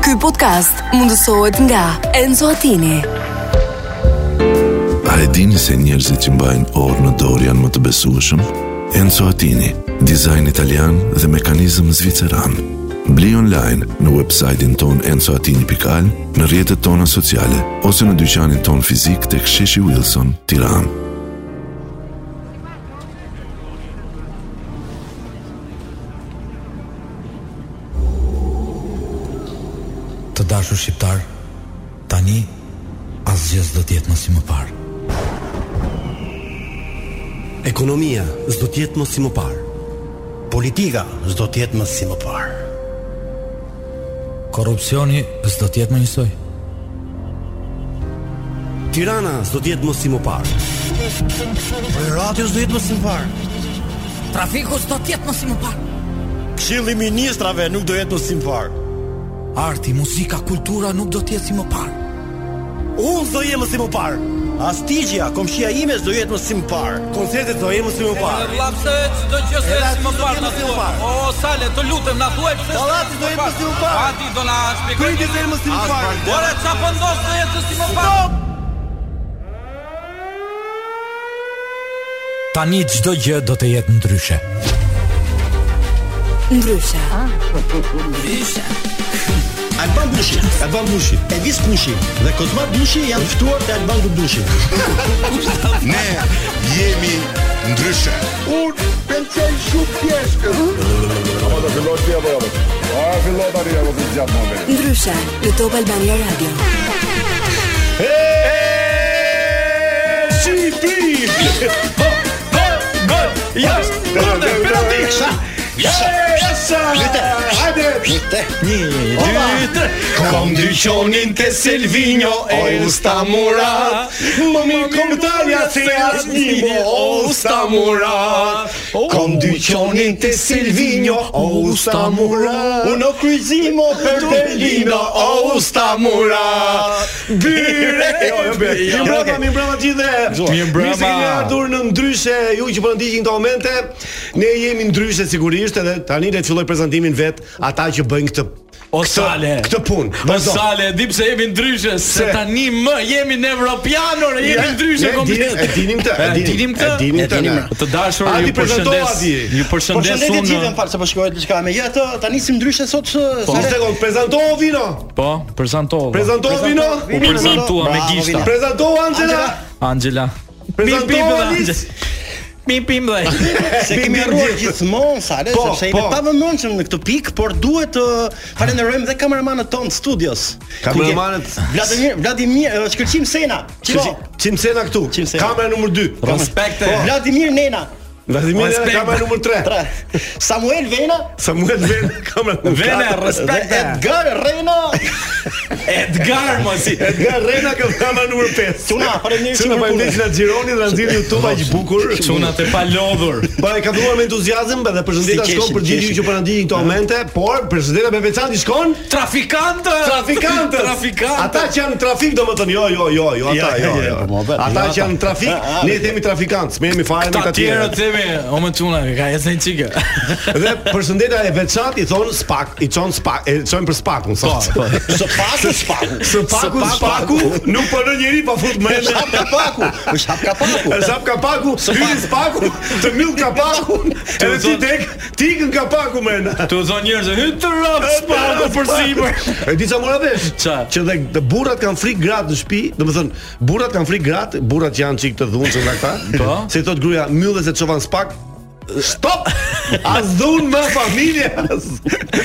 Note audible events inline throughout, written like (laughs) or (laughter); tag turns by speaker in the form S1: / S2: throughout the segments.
S1: Ky podcast mundësohet nga Enzo Attini.
S2: A e dini se njerëzit që mbajnë orë në dorë janë më të besueshëm? Enzo Attini, dizajn italian dhe mekanizëm zviceran. Bli online në website-in ton enzoatini.al, në rjetët tona sociale, ose në dyqanin ton fizik të ksheshi Wilson, tiran.
S3: Të dashur shqiptar, tani asgjë s'do të jetë më si më parë.
S4: Ekonomia s'do të jetë më si më parë. Politika s'do të jetë më si më parë.
S3: Korrupsioni s'do të jetë më njësoj.
S4: Tirana s'do të jetë më si më parë. Rati s'do jetë më si më parë.
S5: Trafiku s'do tjetë më si më parë.
S4: Këshilli i ministrave nuk do jetë më si më parë.
S3: Arti, muzika, kultura nuk do të jetë si më parë.
S4: Unë s'do jem më si më parë. Astigja, komshia ime s'do jetë më si më parë. Koncertet do jem më si më parë.
S5: Lapse çdo gjë se
S4: Edhe
S5: si më
S4: aty do
S5: parë
S4: t'jemi
S5: na
S4: si më
S5: thuaj.
S4: parë.
S5: O Sale, të lutem na thuaj pse.
S4: Dallati do jetë më si më parë.
S5: Ati do na shpjegoj.
S4: Kryti do jetë më si më parë.
S5: Ora çfarë po ndos të jetë si më parë?
S3: Tani çdo gjë do të jetë ndryshe.
S1: Ndryshe,
S4: Alban Bushi, Alban Bushi, Elvis Bushi dhe Kozma Bushi janë ftuar te Alban Bushi.
S6: Ne jemi ndryshe.
S1: ndryshe në Top Albania Radio.
S6: Kom dyqonin te Silvino e usta murat Më mirë kom talja se asnimo o usta murat Kom dyqonin te Silvino o usta murat Uno kryzimo për Berlino o usta murat Byre
S4: (laughs) Jo, Mirë mbrëma, mirë mbrëma gjithë.
S6: Mirë mbrëma.
S4: Mirë se keni ardhur në ndryshe, ju që po ndiqni këto momente. Ne jemi ndryshe sigurisht edhe tani le të filloj prezantimin vet ata që bëjnë këtë
S7: O
S4: këtë-
S7: sale.
S4: Këtë punë.
S7: Po
S4: Vazhdo.
S7: sale, dim se jemi ndryshe, se
S4: Se?
S7: tani më jemi në evropianor, jemi
S4: Ja,
S7: ndryshe
S4: ne
S7: komplet.
S4: dinim- e (laughs) dinim këtë, e dinim- e dinim
S7: E
S4: këtë, ne.
S7: Të dashur,
S4: Adi,
S7: ju
S4: prezanto,
S7: përshëndes.
S4: Adi.
S7: Ju përshëndes
S8: Përshëndetje gjithë
S7: unë.
S8: më falë se po shkojë diçka me ja të tani si ndryshe sot së
S4: Po, Një sekond, prezantohu vino.
S7: Po, prezantova.
S4: Prezantohu vino.
S7: U prezantua me
S8: Po, Bravo,
S7: gishta.
S8: Vini.
S4: Prezantohu Angela.
S7: Angela.
S4: Prezantohu,
S7: Pim, pim, dhe
S4: Alice.
S7: Angela. Pim pim dhe.
S8: se kemi rruar gjithmonë sale
S4: Po,
S8: sepse
S4: po.
S8: jemi pa vëmendshëm në këtë pikë, por duhet të falenderojmë dhe kameramanët tonë studios.
S4: Kameramanët-
S8: Ku je? Vladimir Vladimir eh, Shkëlqim Sena. Çiko.
S4: Çimsena këtu.
S8: Çimsena.
S4: Kamera numër 2.
S7: Respekte.
S8: Po, Vladimir Nena.
S4: Vladimir
S7: Respekt.
S4: kamera numër 3.
S8: Tra. Samuel Vena
S4: Samuel Ven, kamera numër
S7: Vene,
S4: 4.
S8: dhe
S7: respekte.
S8: Edgar Rena.
S7: Edgar
S4: (laughs)
S7: mos i.
S4: Edgar Rena ka kamera numër 5.
S8: Çuna, faleminderit
S4: Çuna
S8: shumë për
S4: faleminderit që na xhironi dhe na nxjerrni YouTube aq bukur.
S7: Çunat e palodhur.
S4: Ba e ka filluar me entuziazëm dhe përshëndetja
S8: Si qeshin,
S4: shkon për gjithë ju
S8: qeshin.
S4: që po na ndiqni këto momente, por përshëndetja me Veçanti shkon
S7: Trafikantë.
S4: trafikantët.
S7: Trafikantët.
S4: Ata që janë në trafik domethënë jo jo jo jo ata jo. jo.
S7: po,
S4: Ata që janë në trafik, ne i themi trafikant, s'më jemi fare me
S7: Ta
S4: ta
S7: tjerë
S4: tjerët.
S7: themi, o më çuna, ka ecën çike.
S4: (laughs) Dhe përshëndetja e Veçanti thon spak, i çon spak, e çojmë për spakun
S7: Po,
S4: sot.
S8: Së paku, së paku.
S4: Po. Së paku, së paku, nuk punon njëri pa fut mend.
S8: Shap ka paku. Është shap ka paku.
S4: E zap kapaku, hyri spaku, të mbyll kapakun, edhe ti tek, ti ikën kapaku më.
S7: Tu thon njerëz, hyt të rap spaku për sipër.
S4: E di sa mora vesh?
S7: Ça?
S4: Që dhe dhe burrat kanë frikë gratë në shtëpi, domethënë burrat kanë frikë gratë, burrat që janë çik të dhunshëm nga këta.
S7: Po.
S4: Se i thot gruaja, mbyllë se çovan spak. Stop! As dhun më familje. as.
S7: Bra,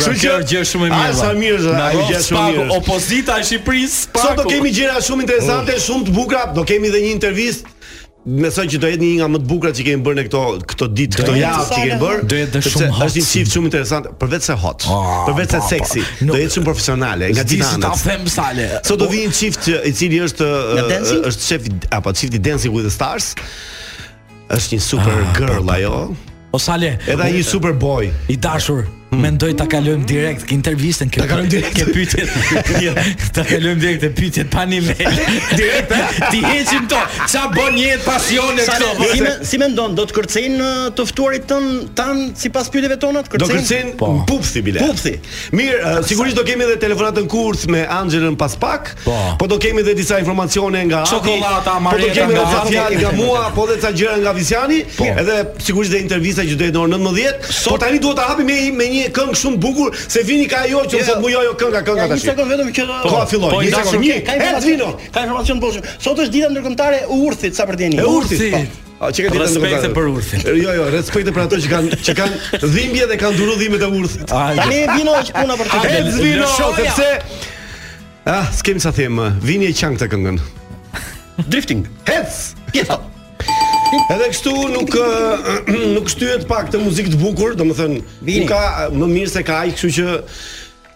S4: Kështu
S7: kjo është gjë shumë e mirë.
S4: As
S7: valla.
S4: mirë është,
S7: Na
S4: ajo
S7: rof
S4: gjë është shumë e
S7: Spaku,
S4: mirë.
S7: opozita e Shqipërisë, Spaku.
S4: Sot do kemi gjëra shumë
S7: Oh.
S4: interesante, shumë të bukura, do kemi edhe një intervistë Besoj që do jetë një nga më të bukura që kemi bërë në këto këto ditë, këto
S7: jetë
S4: javë që kemi bërë.
S7: Do jetë dhe shumë hot. Ah,
S4: sepse Është një çift shumë interesant, përveç se hot, përveç se seksi, do jetë shumë profesionale, nga
S7: Di si ta
S4: titanët.
S7: them sale.
S4: Sot do vi një çift që- i cili është
S8: Nga Dancing?
S4: është shef i- apo çifti Dancing with the Stars.
S7: Ah,
S4: Është një super girl ajo,
S7: O sale,
S4: edhe ai një super boy.
S7: i dashur. Mendoj ta kalojmë direkt kë intervistën kë. Ta
S4: Hmm. kalojmë direkt.
S7: kë pyetjet. Jo,
S4: (laughs)
S7: ta kalojmë direkt te pyetjet pa nivel. direkt ti heqim to. Ça bën jetë pasionet
S8: Sa,
S7: këto?
S8: si, me, si mendon, do të kërcejnë ë, të ftuarit tën tan sipas pyetjeve tona të
S4: Do
S8: kërcejnë?
S4: kërcen pupthi bile.
S8: Pupthi.
S4: Mirë, eh, sigurisht do kemi edhe telefonatën kurth me Anxhelën pas pak,
S7: Po.
S4: po do kemi edhe disa informacione nga Adi, po
S6: Çokolata,
S4: do
S6: amareta
S4: kemi
S6: nga
S4: edhe ca
S6: Adi.
S4: fjalë nga mua, po edhe ca gjëra nga Visiani, edhe sigurisht dhe intervista që do jetë në orën 19. Po tani duhet ta hapim me me një këngë shumë bukur, se vini ka ajo që thotë mu jo jo kënga kënga
S8: Ja, një
S4: tash.
S8: sekond vetëm që do-
S4: Koha filloi.
S6: Po, i
S4: Një
S6: dashur,
S4: sekond. Një,
S8: Ka
S4: Edvino.
S8: informacion, ka informacion bosh. Sot është dita ndërkombëtare e urthit sa për dieni.
S4: E urthit.
S6: Urthit.
S4: po. A çka ditën
S6: Respekte për urthin.
S4: Jo, jo, respekte për ato që kanë që kanë dhimbje dhe kanë dhuru dhimbjet e urthit.
S8: Tani vino është puna për të.
S4: A
S8: qenë.
S4: Ecë vino, sepse Ah, s'kem sa them, vini e qan këtë këngën.
S8: drifting.
S4: Hec.
S8: Pjesa.
S4: Edhe kështu nuk (clears throat) ë, nuk shtyhet pak të muzikë të bukur, domethënë
S8: Vini.
S4: nuk ka më mirë se ka aq, kështu që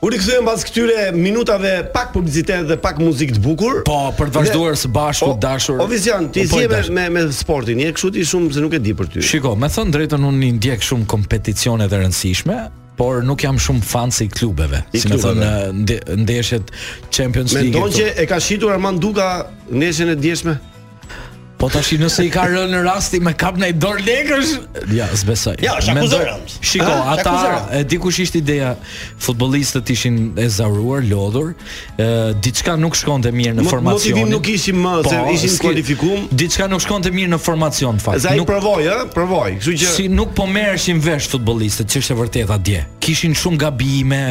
S4: u rikthyem pas këtyre minutave pak publicitet dhe pak muzikë të bukur.
S7: Po, për të vazhduar së bashku
S4: O-
S7: dashur.
S4: Ovizian, ti
S7: Po, i
S4: zje me,
S7: dashur.
S4: me me sportin, je kështu ti shumë se nuk e di për ty.
S7: Shiko, me thënë drejtën unë i ndjek shumë kompeticione të rëndësishme, por nuk jam shumë fan si klubeve.
S4: I
S7: si me
S4: klubeve.
S7: thënë nde- ndeshjet Champions League.
S4: Mendon që e ka shitur Armand Duka nesën e djeshme?
S7: Po tash nëse i ka rënë në rasti me kap në i dorë lekësh, ja, s'besoj.
S8: Ja, është akuzë
S7: Mendoj-
S8: Rams.
S7: Shiko,
S4: Ah,
S8: Ha, është akuzë
S7: ata e di kush ishte ideja. Futbollistët ishin e zaruar, lodhur, ë diçka nuk shkonte mirë në
S4: Mo-
S7: formacionin.
S4: motivim nuk ishim më, se ishin
S7: s'ki-
S4: kualifikum.
S7: Diçka nuk shkonte mirë në formacion në fakt.
S4: Za i
S7: Nuk
S4: provoj, ë, provoj. Kështu që
S7: si nuk po merreshin vesh futbollistët, që është e vërteta dje. Kishin shumë gabime,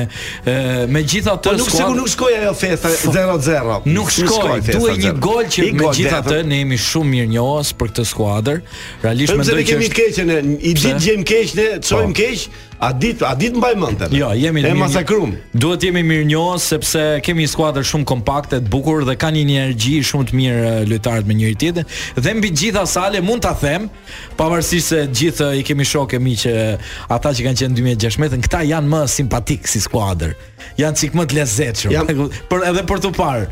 S7: ë megjithatë
S4: Po nuk sigur nuk shkoi ajo festa 0-0.
S7: Nuk shkoj,
S4: festa
S7: duhet një
S4: 0-0.
S7: gol që
S4: Një gol,
S7: megjithatë
S4: vetëm.
S7: ne jemi shumë mirënjohës për këtë skuadër. Realisht
S4: Vetëm se
S7: mendoj
S4: ne
S7: që
S4: kemi
S7: është
S4: të keqen, e, i
S7: Pse? Po.
S4: ditë gjejmë keq ne, çojmë keq, a ditë a ditë mbaj mend. tani.
S7: Jo, jemi
S4: e
S7: mirë-
S4: masakrum.
S7: Duhet jemi mirënjohës sepse kemi një skuadër shumë kompakte, të bukur dhe kanë një energji shumë të mirë e, lojtarët me njëri tjetrin. Dhe mbi gjitha sale mund ta them, pavarësisht se gjithë e, i kemi shokë e mi që ata që kanë qenë në 2016, këta janë më simpatik si skuadër. Janë sik më të lezetshëm.
S4: Jam-
S7: Për edhe për të (laughs) parë.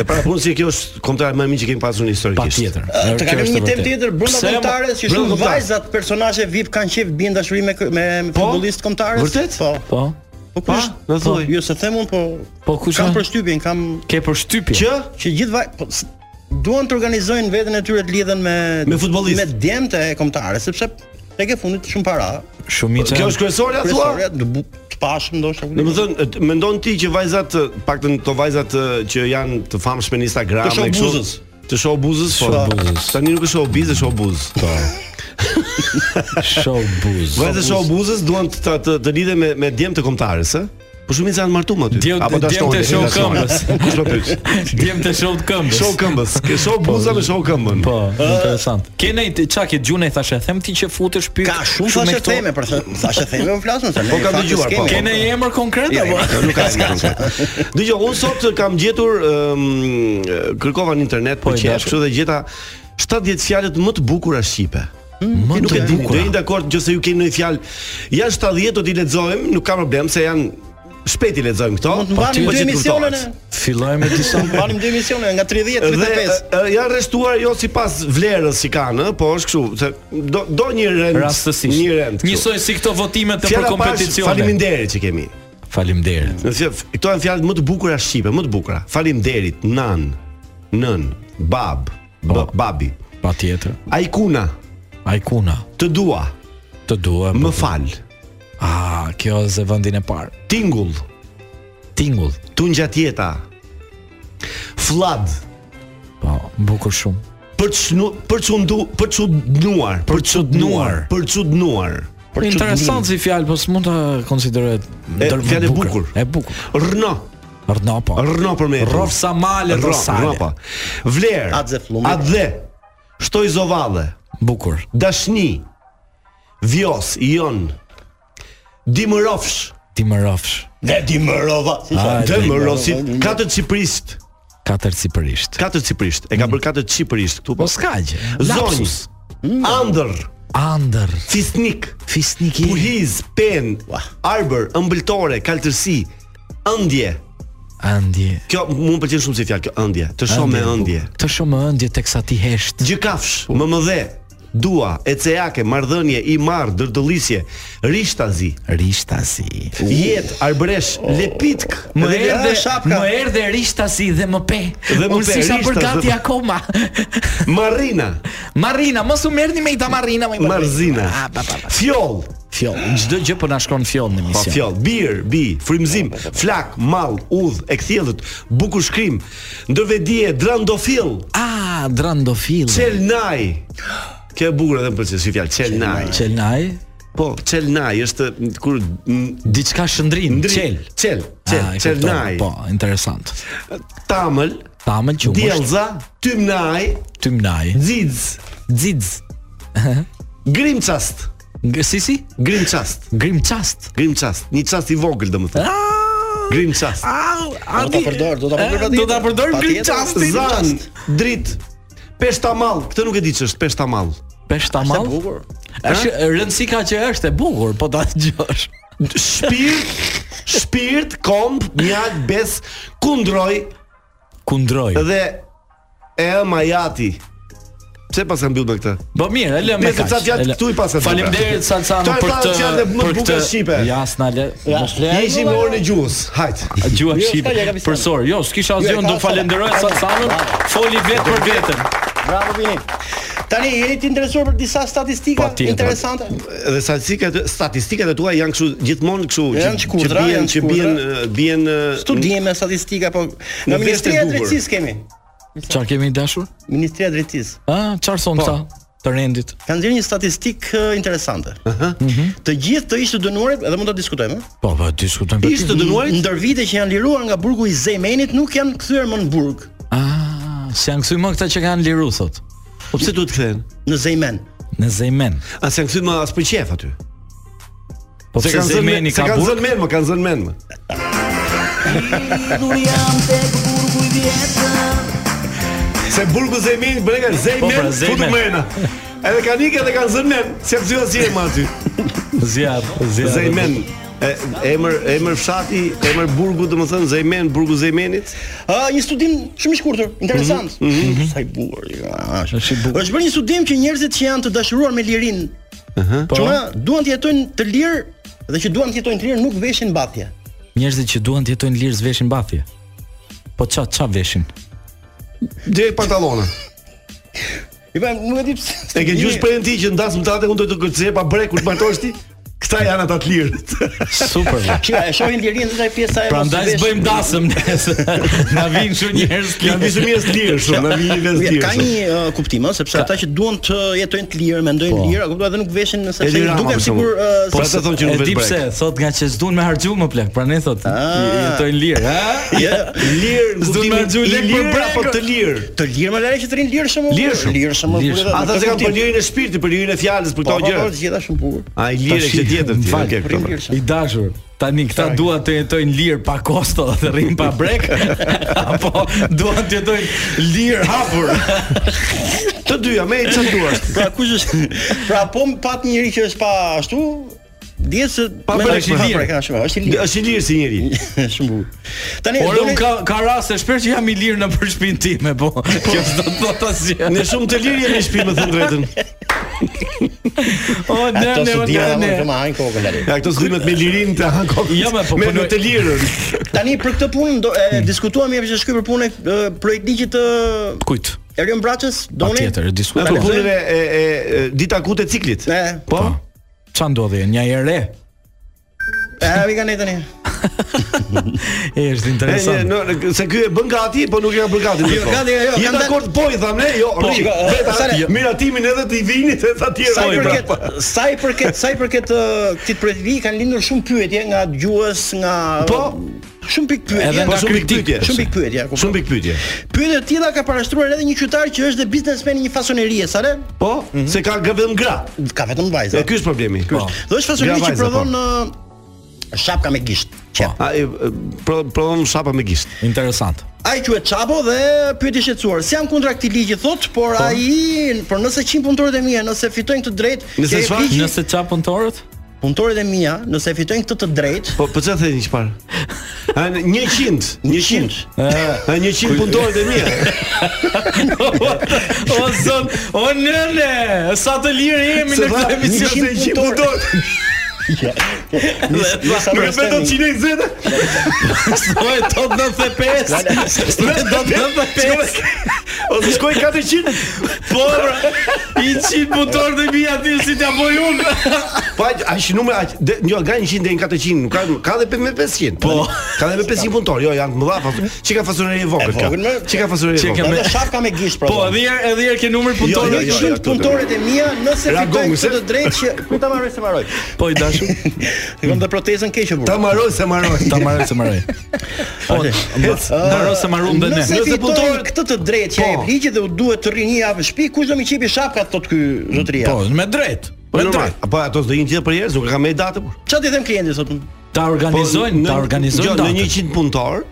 S4: E para punë si kjo është kontra më e mirë që kemi pasur në historikisht.
S7: Patjetër.
S8: Ë, Të
S7: Kjo
S8: kalojmë
S7: është e
S8: një temë
S7: vërtetë.
S8: tjetër brenda
S7: Pse, mo-
S8: kombëtares që
S4: brenda
S8: shumë
S4: kombëtare. Po?
S8: vajzat personazhe VIP kanë qef vin dashuri me kë- me me futbollistë kombëtarës.
S4: Vërtet?
S8: Po.
S7: Po.
S8: Po kush?
S4: na thuaj.
S8: Po, Jo se them un, po.
S7: Po, kush
S8: Kam
S7: janë?
S8: përshtypjen, kam
S7: Ke për shtypje.
S4: Që
S8: që gjithë vaj po, s- duan të organizojnë veten e tyre të lidhen me
S4: Me futbollistë.
S8: me djemtë e kombëtarës, sepse tek e fundit shumë para.
S7: Shumica.
S4: kjo është kryesorja thua?
S8: Profesorja të bu- të pashëm ndoshta.
S4: Në më thënë, e, mendon ti që vajzat, e, paktën të vajzat e, që janë të famshme në Instagram
S8: Të
S4: e kështu-
S8: showbuzës.
S4: Të show buzës, po.
S7: Showbuzës.
S4: Tani nuk është show bizë, show buzë. Po.
S7: show buz.
S4: Vajzat e show buzës duan të të, të, të lidhen me me djem të kombëtarës, ë? Po shumica janë martuar aty.
S7: Djem- djem të show këmbës.
S4: (laughs) Kush po pyet?
S7: Djem të show të këmbës.
S4: Show këmbës. Ke show buza me show këmbën.
S7: Po, interesant. Ke ne çka ke gjuna i thashë, them ti që futesh pyet.
S8: Ka shumë thashë theme për thë- thashë theme, unë flasën se ne.
S4: Po, kam
S8: faktis
S4: dëgjuar,
S8: kemi.
S4: po.
S7: Ke ne emër konkret
S8: Jo,
S7: apo?
S8: jo,
S4: Nuk ka asgjë. Dgjoj, unë sot kam gjetur ëm, kërkova në internet po
S7: Po, i
S4: qesh,
S7: dashur.
S4: kështu dhe gjeta 70 fjalët më të bukura shqipe.
S7: Mm, Më
S4: Nuk e di, do jeni dakord nëse ju keni ndonjë fjalë. Janë 70 do t'i lexojmë, nuk ka problem se janë shpejt i lexojmë këto.
S8: Mund të mbanim
S4: po
S8: dy
S4: që të
S8: emisione
S4: kuptohet.
S8: ne.
S7: Fillojmë me disa
S8: Mbanim dy emisione nga 30
S4: Dhe
S8: 35.
S4: e, e, janë rreshtuar jo sipas vlerës që kanë, ë, po është kështu, se do do një rend,
S7: rastësisht.
S4: një rend. kështu.
S7: Njësoj si këto votimet të për
S4: Fjala pa është
S7: kompeticione.
S4: Faleminderit që kemi.
S7: Faleminderit.
S4: Në fjalë, këto janë fjalët më të bukura shqipe, më të bukura. Faleminderit, nan, nën, bab, b-
S7: Bab.
S4: babi,
S7: Patjetër.
S4: ajkuna,
S7: Ajkuna,
S4: të dua,
S7: të dua.
S4: më fal,
S7: Ah, kjo është vendin e parë.
S4: tingull,
S7: Tingull.
S4: tungja tjeta, flad,
S7: Po, bukur shumë.
S4: për çnu, për çundu, për çudnuar, për
S7: çudnuar.
S4: për çudnuar.
S7: Interesant si fjalë, po s'mund ta konsiderohet ndër-
S4: fjalë e
S7: bukre.
S4: bukur.
S7: E bukur.
S4: Rno,
S7: Rrna po.
S4: rno për me.
S7: Rrof sa male, rrof sale.
S4: rno po. Vler,
S8: Atze fllumbi.
S4: atdhe, shtoj zovalle,
S7: Bukur.
S4: dashni, vjos, ion, dimërofsh,
S7: Ti më rrofsh.
S8: Ne di më rova. Si
S7: Ah,
S8: thonë.
S7: e
S4: Dëmë Rosit, katër Ciprisht,
S7: Katër sipërisht.
S4: katër Ciprisht, e ka bërë katër Ciprisht këtu
S7: Po
S4: po.
S7: s'ka gjë.
S4: Zonjës,
S7: Lapsus.
S4: Andër,
S7: Andër.
S4: Mm. Fisnik,
S7: Fisniki.
S4: Puhiz, Pen, Arbër, Ëmbëltore, Kaltërsi, Ëndje.
S7: Andje.
S4: Kjo mu më pëlqen shumë si fjalë kjo ëndje, po. të shoh me ëndje.
S7: Të shumë ëndje teksa ti hesht.
S4: Gjykafsh, MMD, dua, eceake, marrëdhënie, i marr, dërdëllisje, rishtazi,
S8: Rishtasi.
S4: jet, arbresh, lepitk,
S7: Më
S4: edhe
S7: erdhe
S4: lera
S7: më erdhe rishtasi dhe më pe.
S4: Dhe më
S7: Unë
S4: pe,
S7: s'isha për
S4: rishtas
S7: gati
S4: dhe-
S7: akoma. (laughs)
S4: marrina,
S7: Marrina, mos u merrni me ita Marrina, më i përbëj.
S4: marzina,
S7: Ah, pa pa pa.
S4: fjoll,
S7: Fjoll, çdo gjë po na shkon fjoll në
S4: pa
S7: mision.
S4: fjoll, bir, bi, frymëzim, flak, mall, udh, e kthjellët, bukur shkrim, ndërvedie, drandofill,
S7: Ah, drandofil.
S4: çelnaj. Kjo e bukur edhe më pëlqen si fjalë, çelnaj.
S7: Çelnaj,
S4: Po, çelnaj është m, kur m,
S7: diçka shndrin,
S4: ndri-
S7: çel.
S4: çel, çel,
S7: Ah, e
S4: çelnaj,
S7: kuptova, Po, interesant.
S4: tamël,
S7: Tamël qumësht,
S4: diellza, tymnaj,
S7: tymnaj,
S4: xiz,
S7: xiz.
S4: grimçast,
S7: Nga- Si si?
S4: grimçast,
S7: Grimçast.
S4: grimçast, një çast i vogël domethënë.
S7: Ah!
S4: Grimçast.
S7: Au,
S8: Do ta përdor, do ta përdor.
S7: Eh, Do ta përdor grimçastin.
S4: Zan, drit, peshtamall, këtë nuk e di ç'është peshtamall.
S7: Peshtamal. Është bukur. Është rëndësika që është e bukur, po ta (laughs) dëgjosh.
S4: Shpirt, shpirt, komb, mjalt, bes, kundroj
S7: Kundroj.
S4: dhe e majati. Pse pas e mbyll me këtë?
S7: Po mirë, e lëmë
S4: Ne sepse fjalë këtu i pasën.
S7: Faleminderit Salsano
S4: Këto
S7: për
S4: janë
S7: të
S4: fjalë dhe më
S7: për
S4: bukur shqipe.
S7: Ja, s'na lë. mos le-
S4: Ne ishim në orën e gjuhës. Hajt.
S7: Gjua
S8: Jo,
S7: shqipe
S8: s'ka gjë, ka vision.
S7: për sor. Jo, s'kisha asgjë,
S8: Jo, ka-
S7: do falenderoj Salsanën, foli vetë për vetën.
S8: Bravo Vini. Tani jeni të interesuar për disa statistika
S7: Patjetër.
S8: interesante?
S4: Dhe statistikat statistikat e tua janë kështu gjithmonë kështu
S8: Janë
S4: që-
S8: shkurtra,
S4: që bien
S8: janë
S4: që bien
S8: shkurtra.
S4: eh, bien eh,
S8: Studime me statistika po
S4: Në
S8: në
S4: vest e
S8: Ministrinë e
S4: duhur.
S8: Drejtësisë kemi.
S7: Çfarë kemi dashur?
S8: Ministria e Drejtësisë
S7: Ah, çfarë son këta të rendit?
S8: ka nxjerrë një statistikë eh, interesante.
S7: Mhm.
S8: Të gjithë të ishtë dënuarit, edhe mund ta diskutojmë, ëh?
S7: Po, po, diskutojmë
S4: Ishtë të dënuarit?
S8: ndër vite që janë liruar nga burgu i Zejmenit nuk janë kthyer më në burg,
S7: Ah, se janë këthy më këta që kanë liru thot.
S4: Po pse duhet kthehen?
S8: në Zejmen.
S7: Në Zejmen.
S4: A se kthy më as për qef aty.
S7: Po pse
S4: kanë zënë men-
S7: Zejmeni
S4: se
S7: ka
S4: kanë
S7: burg?
S4: zënë men, më kanë zënë men. më. Se burgu Zemin, bëre kanë
S7: Po, pra,
S4: Zemin, futu
S7: Zejmen.
S4: mena. Edhe kanë ikë edhe kanë zënë men, se pse as jemi aty.
S7: Zjat, zjat.
S4: Zejmen. E, emër emër fshati, emër burgu domethënë Zejmen, burgu Zejmenit.
S8: Ë, një studim shumë i shkurtër, interesant.
S4: Mhm,
S8: Mhm. Sa i bukur. ja, Është
S7: Është i bukur.
S8: Është bërë një studim që njerëzit që janë të dashuruar me lirinë,
S7: Po,
S8: që ma duan të jetojnë të lirë dhe që duan të jetojnë të lirë nuk veshin mbathje.
S7: njerëzit që duan të jetojnë lirë zveshin bathje. Po ça ça veshin?
S4: Deri pantallona.
S8: I pa, nuk e di pse.
S4: E ke gjush prej ti që ndas më tate unë do të kërcej pa brek kur të martosh ti. Këta (laughs) janë ata të lirë.
S7: Super. ve.
S8: Shikoj, e shohin lirinë dhe ai pjesa e
S7: (laughs) Prandaj
S8: mos
S7: s'bëjmë dasëm nesër. (laughs) Na vinë shumë njerëz
S4: Janë
S7: këtu.
S4: visë mirë të lirë (laughs) shumë, na vini vetë
S8: Ja,
S4: lirë.
S8: ka një uh, kuptim, ëh, sepse ata që duan të jetojnë të lirë, mendojnë
S7: Po.
S8: lirë, a kuptoj, edhe nuk veshin
S4: Edi
S8: sepse i
S4: Rama,
S8: duken
S4: për
S8: sikur uh,
S4: shembull.
S8: ë,
S4: Po
S8: se-
S4: pse thonë që
S7: E
S4: nuk vetë
S7: di pse,
S4: brek?
S7: thot nga që s'duan me harxhu më plak. Pra ne thot, jetojnë lirë, ha?
S8: Ja,
S4: Lirë, në
S7: S'duhet
S4: kuptimin
S7: me argju
S4: i
S7: lek për
S4: lirë
S7: brek,
S4: apo të lirë.
S8: të lirë më lere që të rinë lirë shumë.
S4: Lirshëm.
S8: lirë shumë.
S7: Lirshëm.
S4: Ata se kanë për lirin e shpirtit, për lirin e fjalës, për
S8: Po,
S4: këto
S8: po, po,
S4: gjëra.
S8: të gjitha shumë bukur.
S4: Ai lirë
S7: Tashi,
S4: që tjetër ti.
S7: m'fal,
S4: Okej,
S8: Rinë
S4: këto.
S8: lirë shumë.
S7: I dashur, tani këta duan të jetojnë lirë pa kosto (laughs) dhe rrin pa brek (laughs) apo duan të jetojnë lirë hapur.
S4: Të dyja, me çfarë duash?
S8: Pra kush është? Pra po më pat njëri që është pa ashtu, dihet se
S7: Pa
S8: me-
S7: brek,
S8: është i
S7: pa
S8: lirë,
S7: brek.
S8: ka shumë, është i lirë.
S4: Është i lirë si njëri.
S8: (laughs) Shumë bukur. Tani
S7: Por
S8: doni-
S7: unë ka ka raste shpesh që jam i lirë në për shtëpinë time, (laughs) po kjo s'do të thotë asgjë.
S4: Ne shumë të lirë jemi në shtëpi, më thënë (laughs) drejtën.
S7: O ne
S8: Ato
S7: ne
S8: se
S7: o, ne.
S8: dira më
S7: ne.
S8: të më hajnë kokën lali.
S4: Ja këto zgjimet me lirin (laughs) të hankon.
S7: Jo, me, po,
S4: me
S7: punoj-
S4: me të lirën.
S8: Tani për këtë punë do e diskutuam jepë që shkoj për punën e e, projekt ligjit të
S7: Kujt?
S8: Erion Braçës, doni?
S7: Patjetër,
S4: Me
S7: diskutoj.
S4: të punën e e e e, dita akute e ciklit.
S8: E,
S7: Po. Ça ndodhi? Një herë re.
S8: e mi kanë tani.
S7: E është
S4: E, e,
S7: interesant.
S4: no, në- se ky e bën gati, po nuk e ka bërë gati.
S8: Jo, gati, jo,
S4: Je
S8: kanë dalë-
S4: dakord po i tham ne, jo,
S8: Po,
S4: rri.
S8: shiko, e,
S4: Vetë
S8: Sare-
S4: jo. miratimin edhe të i vinit e sa tjerë. pra.
S8: Sa i
S4: oj,
S8: përket,
S4: brapa.
S8: sa i përket, sa i përket ë, këtij projekti ligji, kanë lindur shumë pyetje nga dëgjues, nga
S4: Po.
S8: shumë pikë pyetje.
S7: Edhe nga
S4: Shumë pikë pyetje.
S8: Shumë pikë pyetje, kuptoj.
S4: Shumë pikë pyetje.
S8: Pyetja e tilla ka parastruar edhe një qytetar që është dhe biznesmen i një fasonerie, sa le?
S4: Po, se ka gë- vetëm gra.
S8: Ka vetëm
S4: E
S8: vajza.
S4: ky është problemi.
S7: Po.
S8: Dhe është fasoneri
S4: Gra
S8: që
S4: vajza, po.
S8: prodhon ë, shapka me gisht. Qep.
S4: A e, e, pro- prodhon shapa me gisht.
S7: Interesant.
S8: Ai quhet Çapo dhe pyeti shqetësuar. Si jam kundra këtij ligji thot, por
S4: Po.
S8: ai, por nëse 100 punëtorët e mia, nëse fitojnë këtë drejtë,
S4: Nëse
S8: ke
S4: çfarë?
S8: ligji-
S7: Nëse ça punëtorët?
S8: punëtorët e mia, nëse fitojnë këtë të drejtë,
S4: Po po çfarë thënë çfarë? An 100, 100. Ë, 100 punëtorët e mia.
S6: O zot, o nëne, sa të lirë jemi
S4: Se
S6: në
S4: tha
S6: këtë emision.
S4: 100 punëtorët.
S6: (laughs)
S4: Nuk e vetëm
S6: (laughs)
S4: 120.
S6: Oj,
S4: (laughs)
S6: tot 95. Tot 95.
S4: Ose shkoi 400.
S6: Po, bra. I çit butor të mi aty si t'ja boj unë.
S4: Po aq aq numër aq de- jo nga 100 deri në 400, nuk ka ka edhe me 500. Po, ka edhe me 500 punëtor, jo janë të mëdha. faso- Çika fasonerie e vogël ka.
S8: vogël, më-
S4: Çika fasonerie e
S6: Çika
S4: vogël.
S8: Edhe shafka me gisht pra.
S6: Po, edhe
S4: er-
S6: herë, edhe herë ke numër
S4: Jo,
S6: punëtor.
S4: jo,
S8: Jo,
S4: jo, jo,
S8: shumë
S4: këtu-
S8: punëtorët e mia nëse
S4: Ragongu,
S8: fitojnë
S4: se-
S8: këtë të drejtë që ku ta marrë se marroj.
S6: Po i
S4: (laughs)
S6: dashur.
S8: Kam dhe protestën keqe
S4: Ta
S8: burr.
S4: maroj se maroj.
S6: Ta marrë se marrë. Po, ndaro se marrum dhe ne.
S8: Nëse fitojnë këtë të drejtë që
S4: Po.
S8: e ligji dhe u duhet të rrini javë në shtëpi, kush do më qipi shapkat tot ky zotëria?
S6: Po, jo, me drejt.
S4: Po normal. Apo ato s'do jenë gjithë për njerëz, nuk e kam me datë. Po,
S8: Çfarë ti them klientit sot?
S6: Ta organizojnë,
S4: në-
S6: ta
S4: jo,
S6: organizojnë
S4: në
S6: datën.
S4: 100
S6: Mhm.
S4: punëtor.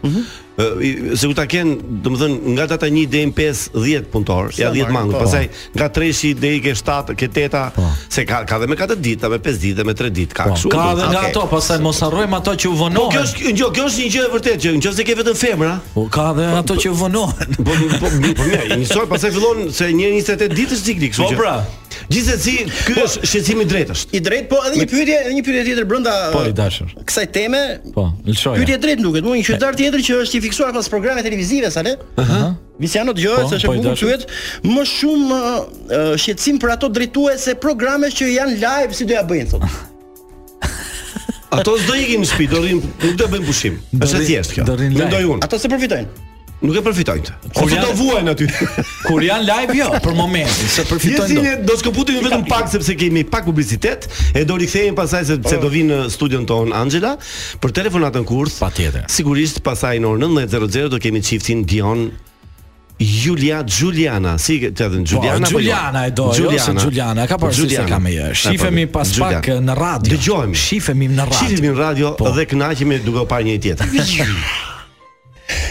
S4: ë, i- Se ku ta kenë, domethënë nga data 1 deri në 5 10 punëtor, ja 10 mangë. Pastaj nga 3 deri ke 7, ke 8,
S6: Po.
S4: se ka ka dhe me 4 ditë, me 5 ditë, me 3 ditë ka kështu. po.
S6: Ka edhe nga
S4: Okej.
S6: ato, po. pastaj mos harrojmë ato që
S4: Po
S6: u
S4: kjo
S6: vonohen.
S4: është jo, kjo është një gjë e vërtetë që nëse ke vetëm femra,
S6: Po ka edhe ato që u vonohen.
S4: po po po mirë, një sot pastaj fillon se një 28 ditë është cikli, kështu
S6: Po, pra.
S4: Gjithsesi, ky
S6: Po,
S4: është shqetësimi i drejtës.
S8: I drejt po edhe një pyetje, edhe një pyetje tjetër brenda
S6: Po i dashur.
S8: kësaj teme.
S6: Po, lëshoja.
S8: Pyetje drejt më duket, mua një qytetar tjetër që është i fiksuar pas programeve televizive sa le. Aha. Visiano dëgjohet
S6: Po,
S8: se është
S6: po,
S8: e
S6: i
S8: bukur
S6: dashur.
S8: pyet, më shumë ë, ë, shqetësim për ato drejtuese programesh që janë live si do ja bëjnë thotë.
S4: Ato s'do ikin në shtëpi, do rrin, nuk do bëjnë pushim. Është
S6: Do
S4: e
S6: rrin-
S4: thjeshtë kjo.
S6: do rrin lajm. Po,
S4: Mendoj unë.
S8: Ato se përfitojnë.
S4: Nuk e përfitojnë këtë. Ose
S6: janë-
S4: do vuajnë
S6: (laughs)
S4: aty.
S6: Kur janë live jo, për momentin, se përfitojnë
S4: Jesin
S6: do.
S4: e do skuputin vetëm pak sepse kemi pak publicitet, e do rikthehemi pasaj se,
S6: Po.
S4: se do vinë në studion ton Angela për telefonatën kurth.
S6: Patjetër.
S4: Sigurisht pasaj në orën 19:00 do kemi çiftin Dion Julia Juliana, si e thënë Juliana
S6: po, Juliana e do, jo se Juliana, ka parë se ka me jë. Shifemi pas pak eh, në radio.
S4: Dëgjohemi.
S6: Shifemi në radio.
S4: Shihemi në radio
S6: Po.
S4: dhe kënaqemi duke u parë njëri tjetrin.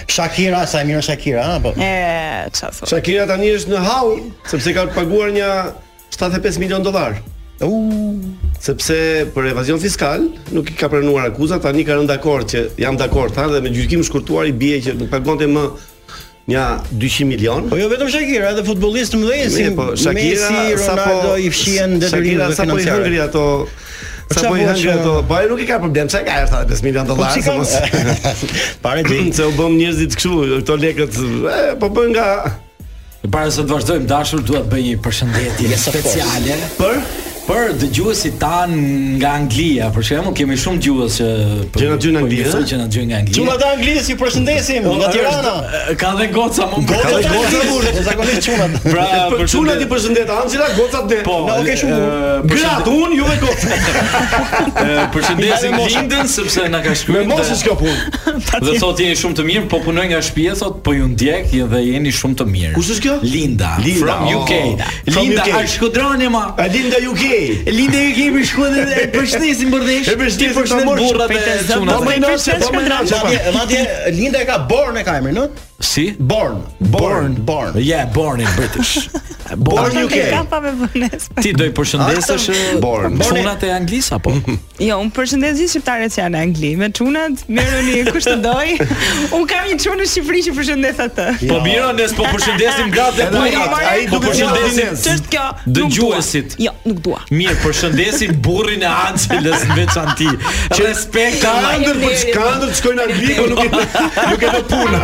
S8: Shakira, sa e mirë është Shakira, ha po.
S6: Eh.
S9: E, çfarë thua?
S4: Shakira tani është në hall sepse ka paguar një 75 milion dollar.
S8: U,
S4: sepse për evazion fiskal nuk i ka pranuar akuzat, tani ka rënë dakord që jam dakord, tha dhe me gjykim shkurtuar i bie që nuk pagonte më një 200 milion.
S8: Po jo vetëm Shakira, edhe futbollistë më dhënë si
S4: Mirë, po Shakira po-
S8: Messi, Ronaldo i fshien
S4: Shakira
S8: detyrimeve
S4: sa po i hëngri
S8: financiare.
S4: ato sa po i
S8: Çfarë
S4: hëngri
S8: po,
S4: ato, po ai nuk i ka problem, çka ka 75 milion dollar
S8: si
S4: se
S8: ka-
S4: mos (laughs)
S8: (clears throat) Pare gjej.
S4: se u bëm njerëzit kështu, këto lekët e, po bën nga
S6: Para se të vazhdojmë dashur, dua të bëj një përshëndetje
S8: Yes, of course.
S6: speciale për për dëgjuesit tan nga Anglia. Për shembull, kemi shumë dëgjues që po-
S4: Që na dëgjojnë nga
S6: po i
S4: Anglia,
S6: besoj
S4: ëh?
S6: që na dëgjojnë nga Anglia.
S8: Çuna ta anglisë, ju
S4: Po,
S8: përshëndesim nga Tirana.
S6: Ka dhe goca më më.
S8: Goca ta anglisë, zakonisht çunat.
S4: (laughs)
S6: Pra,
S4: Për
S6: përshëndet-
S4: çunat i Po, përshëndet Angela, gocat ne.
S6: Po,
S8: Na, okay, shumë
S6: e,
S8: mirë.
S6: përshëndet-
S4: Gratë unë, juve gocat.
S8: (laughs)
S6: e, Ah, Përshëndesim
S8: Me mosha.
S6: Lindën sepse na ka
S4: Me
S6: shkruar.
S4: mos është kjo punë.
S6: Dhe thotë jeni shumë të mirë, po punoj nga shtëpia, thotë po ju ndjek dhe jeni shumë të mirë.
S4: Kush është kjo?
S6: Linda,
S4: Linda,
S6: from
S4: oh.
S6: UK.
S4: From
S6: Linda,
S4: UK.
S6: a shkodroni ma?
S4: A Linda UK.
S6: Linda ju kemi shkuar dhe përshëndesim burrësh.
S4: E përshëndesim
S6: Ti përshëndet
S4: ta morsh
S6: burrat e
S4: pejtë
S6: çunat.
S4: Po më nëse, po më nëse.
S8: Madje, madje Linda e ka Born e ka emrin, ëh?
S6: Si?
S8: Born, Born, Born.
S6: Yeah, born in British.
S4: Born
S9: Nuk
S4: UK.
S9: e kam pa me vënes.
S6: (laughs) Ti do i përshëndesesh eh,
S4: Born.
S6: çunat e Anglisë apo?
S9: (laughs) Jo, unë përshëndes gjithë shqiptarët që janë në Angli. Me çunat, merruni
S6: (laughs)
S9: kush të doj. Unë kam një çunë në Shqipëri që përshëndes atë. jo,
S6: Po mira, ne s'po përshëndesim gratë dhe
S4: Edhe
S9: Ai
S6: burrat.
S4: ai
S6: Po
S4: duhet
S6: përshëndesim
S9: Ç'është kjo? Nuk dua.
S6: dëgjuesit.
S9: Jo, nuk dua.
S6: Mirë, përshëndesim burrin e
S9: (laughs)
S6: Angelës në veçanti. Respekt
S4: Ka
S6: ama-
S4: ndër për ka ndër të shkojnë në Angli, po nuk e nuk e do puna.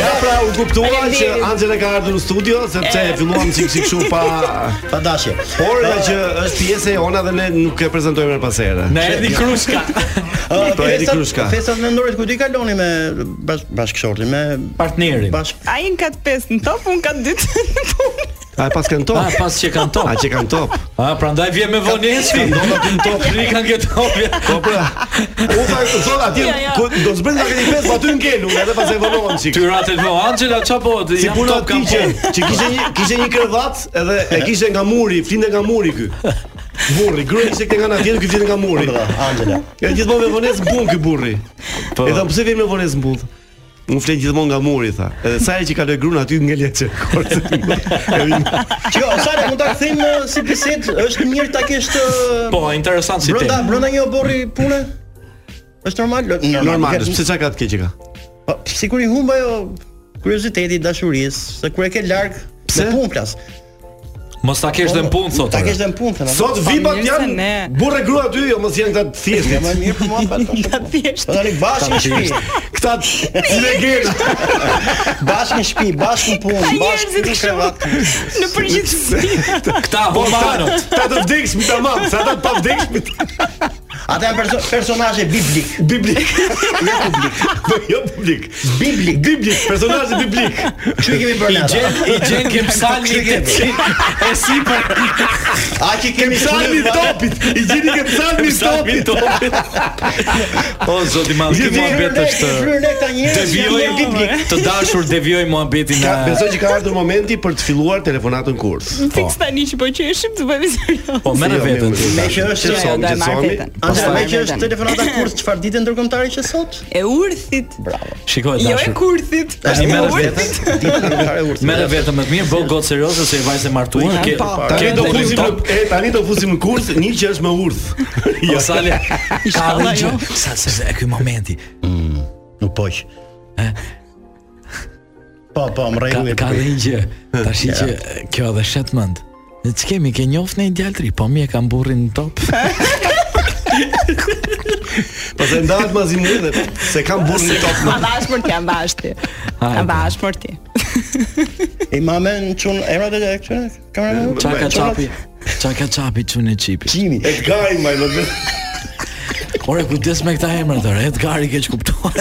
S4: Ja pra u kuptua që Angela ka ardhur në studio sepse filluam sik sik shumë pa
S8: (laughs) Pa dashje.
S4: por nga që është pjesë e ona dhe ne nuk e prezantojmë her pas here.
S6: Na erdhi krushka.
S8: Ë,
S4: Po, Edi
S8: festat-
S4: Krushka.
S8: Festat mendoret ku di kaloni me bash, bashkëshortin, me
S6: Partnerin.
S8: bashk
S9: Ai në kat 5 në top, unë kat 2 në punë.
S4: A e pas kanë
S6: Ah,
S4: top?
S6: pas që kanë top.
S4: A që kanë top?
S6: Ah, prandaj vjen me vonesi.
S9: (laughs)
S6: Ndonë aty në top, nuk kanë këtë hobje.
S4: Po pra. U tha thon atje
S9: Jo, jo.
S4: ku do zbret nga këti pesë, po aty ngelu, edhe pas e vonon sik.
S6: Tyratet me Angela çapo po?
S4: Si
S6: jam
S4: puna
S6: top
S4: ti
S6: kam
S4: që,
S6: qenë.
S4: që kishte një kishte një krevat edhe e kishte nga muri, flinte nga muri ky. Burri, gruaja ishte këthe nga ana tjetër, ky flinte nga muri.
S8: Angela.
S4: Po. Ja gjithmonë me vonesë bun ky burri. Po. E tha pse vjen me vonesë bun? Unë flen gjithmonë nga muri tha. Edhe sa herë që kaloj grun aty ngelet çekort.
S8: Që jo, sa mund ta kthejmë
S4: uh,
S8: eh, si bisedë, është mirë ta kesh të
S7: Po, interesant si
S8: brenda
S7: temë.
S8: brenda një oborri pune. Është normal?
S4: Normal, pse çka ka të keq që ka?
S8: Po, sikur i humb ajo kurioziteti i dashurisë, se kur e ke larg
S4: Pse?
S8: në punë flas.
S7: Mos ta kesh dhe në punë thotë.
S8: Ta kesh dhe në punë thënë.
S4: Sot vipat
S10: mirë se
S4: janë
S10: ne.
S4: burrë e grua aty, jo mos janë këta të
S8: Ja
S4: (laughs)
S8: më
S4: thjeshtit.
S8: mirë për mua pa
S10: Ta
S8: tash.
S10: thjesht.
S8: Po tani bashkë në shtëpi,
S4: Këta (laughs) legenda.
S8: bashkë në shtëpi, bashkë në punë, bashkë
S10: Njerëzit
S8: në
S10: kështu
S8: krevat.
S10: në përgjithësi.
S7: Këta
S4: Po
S7: humanot.
S4: ta të vdekshmi tamam, sa ta të pa vdekshmi.
S8: Ata janë perso personazhe biblik,
S4: Biblik. Jo publik. Jo publik.
S8: biblik.
S4: Biblik, personazhi biblik.
S8: Kështu i kemi bërë
S7: I
S8: ne.
S7: gjen i gjen ke psalmin
S8: Kështu i kemi.
S7: e sipër
S8: A që kemi
S4: Psalmi i topit, i gjeni ke psalmi i
S7: psalmin
S4: topit.
S7: topit. O zoti madh,
S4: Gjithë
S7: kjo muhabet është
S8: Fryrën e këta njerëz janë
S7: devijoj
S8: bërë biblik.
S7: të dashur devijoj eh, muhabetin
S4: Ka,
S7: nga
S4: besoj që ka ardhur momenti për të filluar telefonatën kurth.
S10: Fiks tani që po qeshim të bëhemi serioz.
S7: po merr
S4: Jo,
S7: veten
S4: mirë,
S7: ti.
S8: Me që është
S10: Ja, do e marr veten.
S8: Andra, me
S10: Pastaj
S8: që është telefonata kurth, çfarë ditë ndërkombëtare që sot?
S10: E urthit.
S7: Shikoj
S10: Jo e
S7: dashur.
S10: kurthit.
S7: Tani
S10: E
S7: merr
S10: urthit.
S7: veten.
S8: Ditë ndërkombëtare urth.
S7: Merr veten më të mirë, bëu gotë serioze se e vajzë e martuar. Ke
S4: Tani
S7: ke
S4: do
S7: dalim
S4: fusim
S7: top.
S4: në e tani do fusim në kurth, një që është me urth.
S7: Jo sale. Ka një gjë. Sa se se ky momenti.
S8: Nuk poq. Po, po, më
S7: Ka
S8: rregulli.
S7: ka dhe një gjë. Tash që e, kjo edhe shet mend. Ne ç'kemi ke njoft në djalë tri, po mi e kam burrin në top.
S4: Pastaj ndahet mazi mua dhe se kam burrin në top.
S10: Ma bash për ti, ma bash ti. Ma bash për ti.
S8: I mamë në çun emrat e këtyre kamerave.
S7: Çaka çapi. Çaka çapi çunë çipi.
S8: Jimi.
S4: Edgari më më bë.
S7: Ore kujdes me këta emra tërë, Edgari keq kuptuar.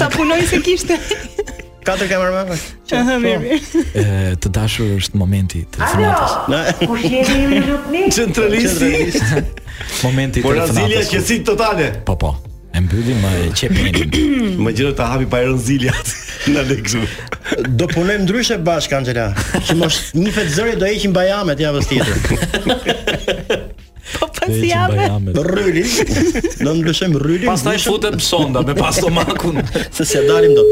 S10: Sa punoj se kishte.
S8: Katër kamerave.
S10: Aha, mirë, mirë.
S7: (laughs) E, të dashur është momenti i telefonatës.
S4: Centralisti.
S7: Momenti i
S4: Por Razilia
S7: telefonatës.
S4: qësi totale.
S7: Po po. E mbyllim më e qepin.
S4: Më gjëro ta hapi pa (laughs) Razilia. Na lë kështu.
S8: Do punojmë ndryshe bashkë Angela. Që mos nifet zëri do heqim bajamet javës tjetër.
S10: Po pas jave.
S8: Rryli. Do ndryshojmë rrylin.
S7: Pastaj futem sonda me pastomakun.
S8: se se dalim dot.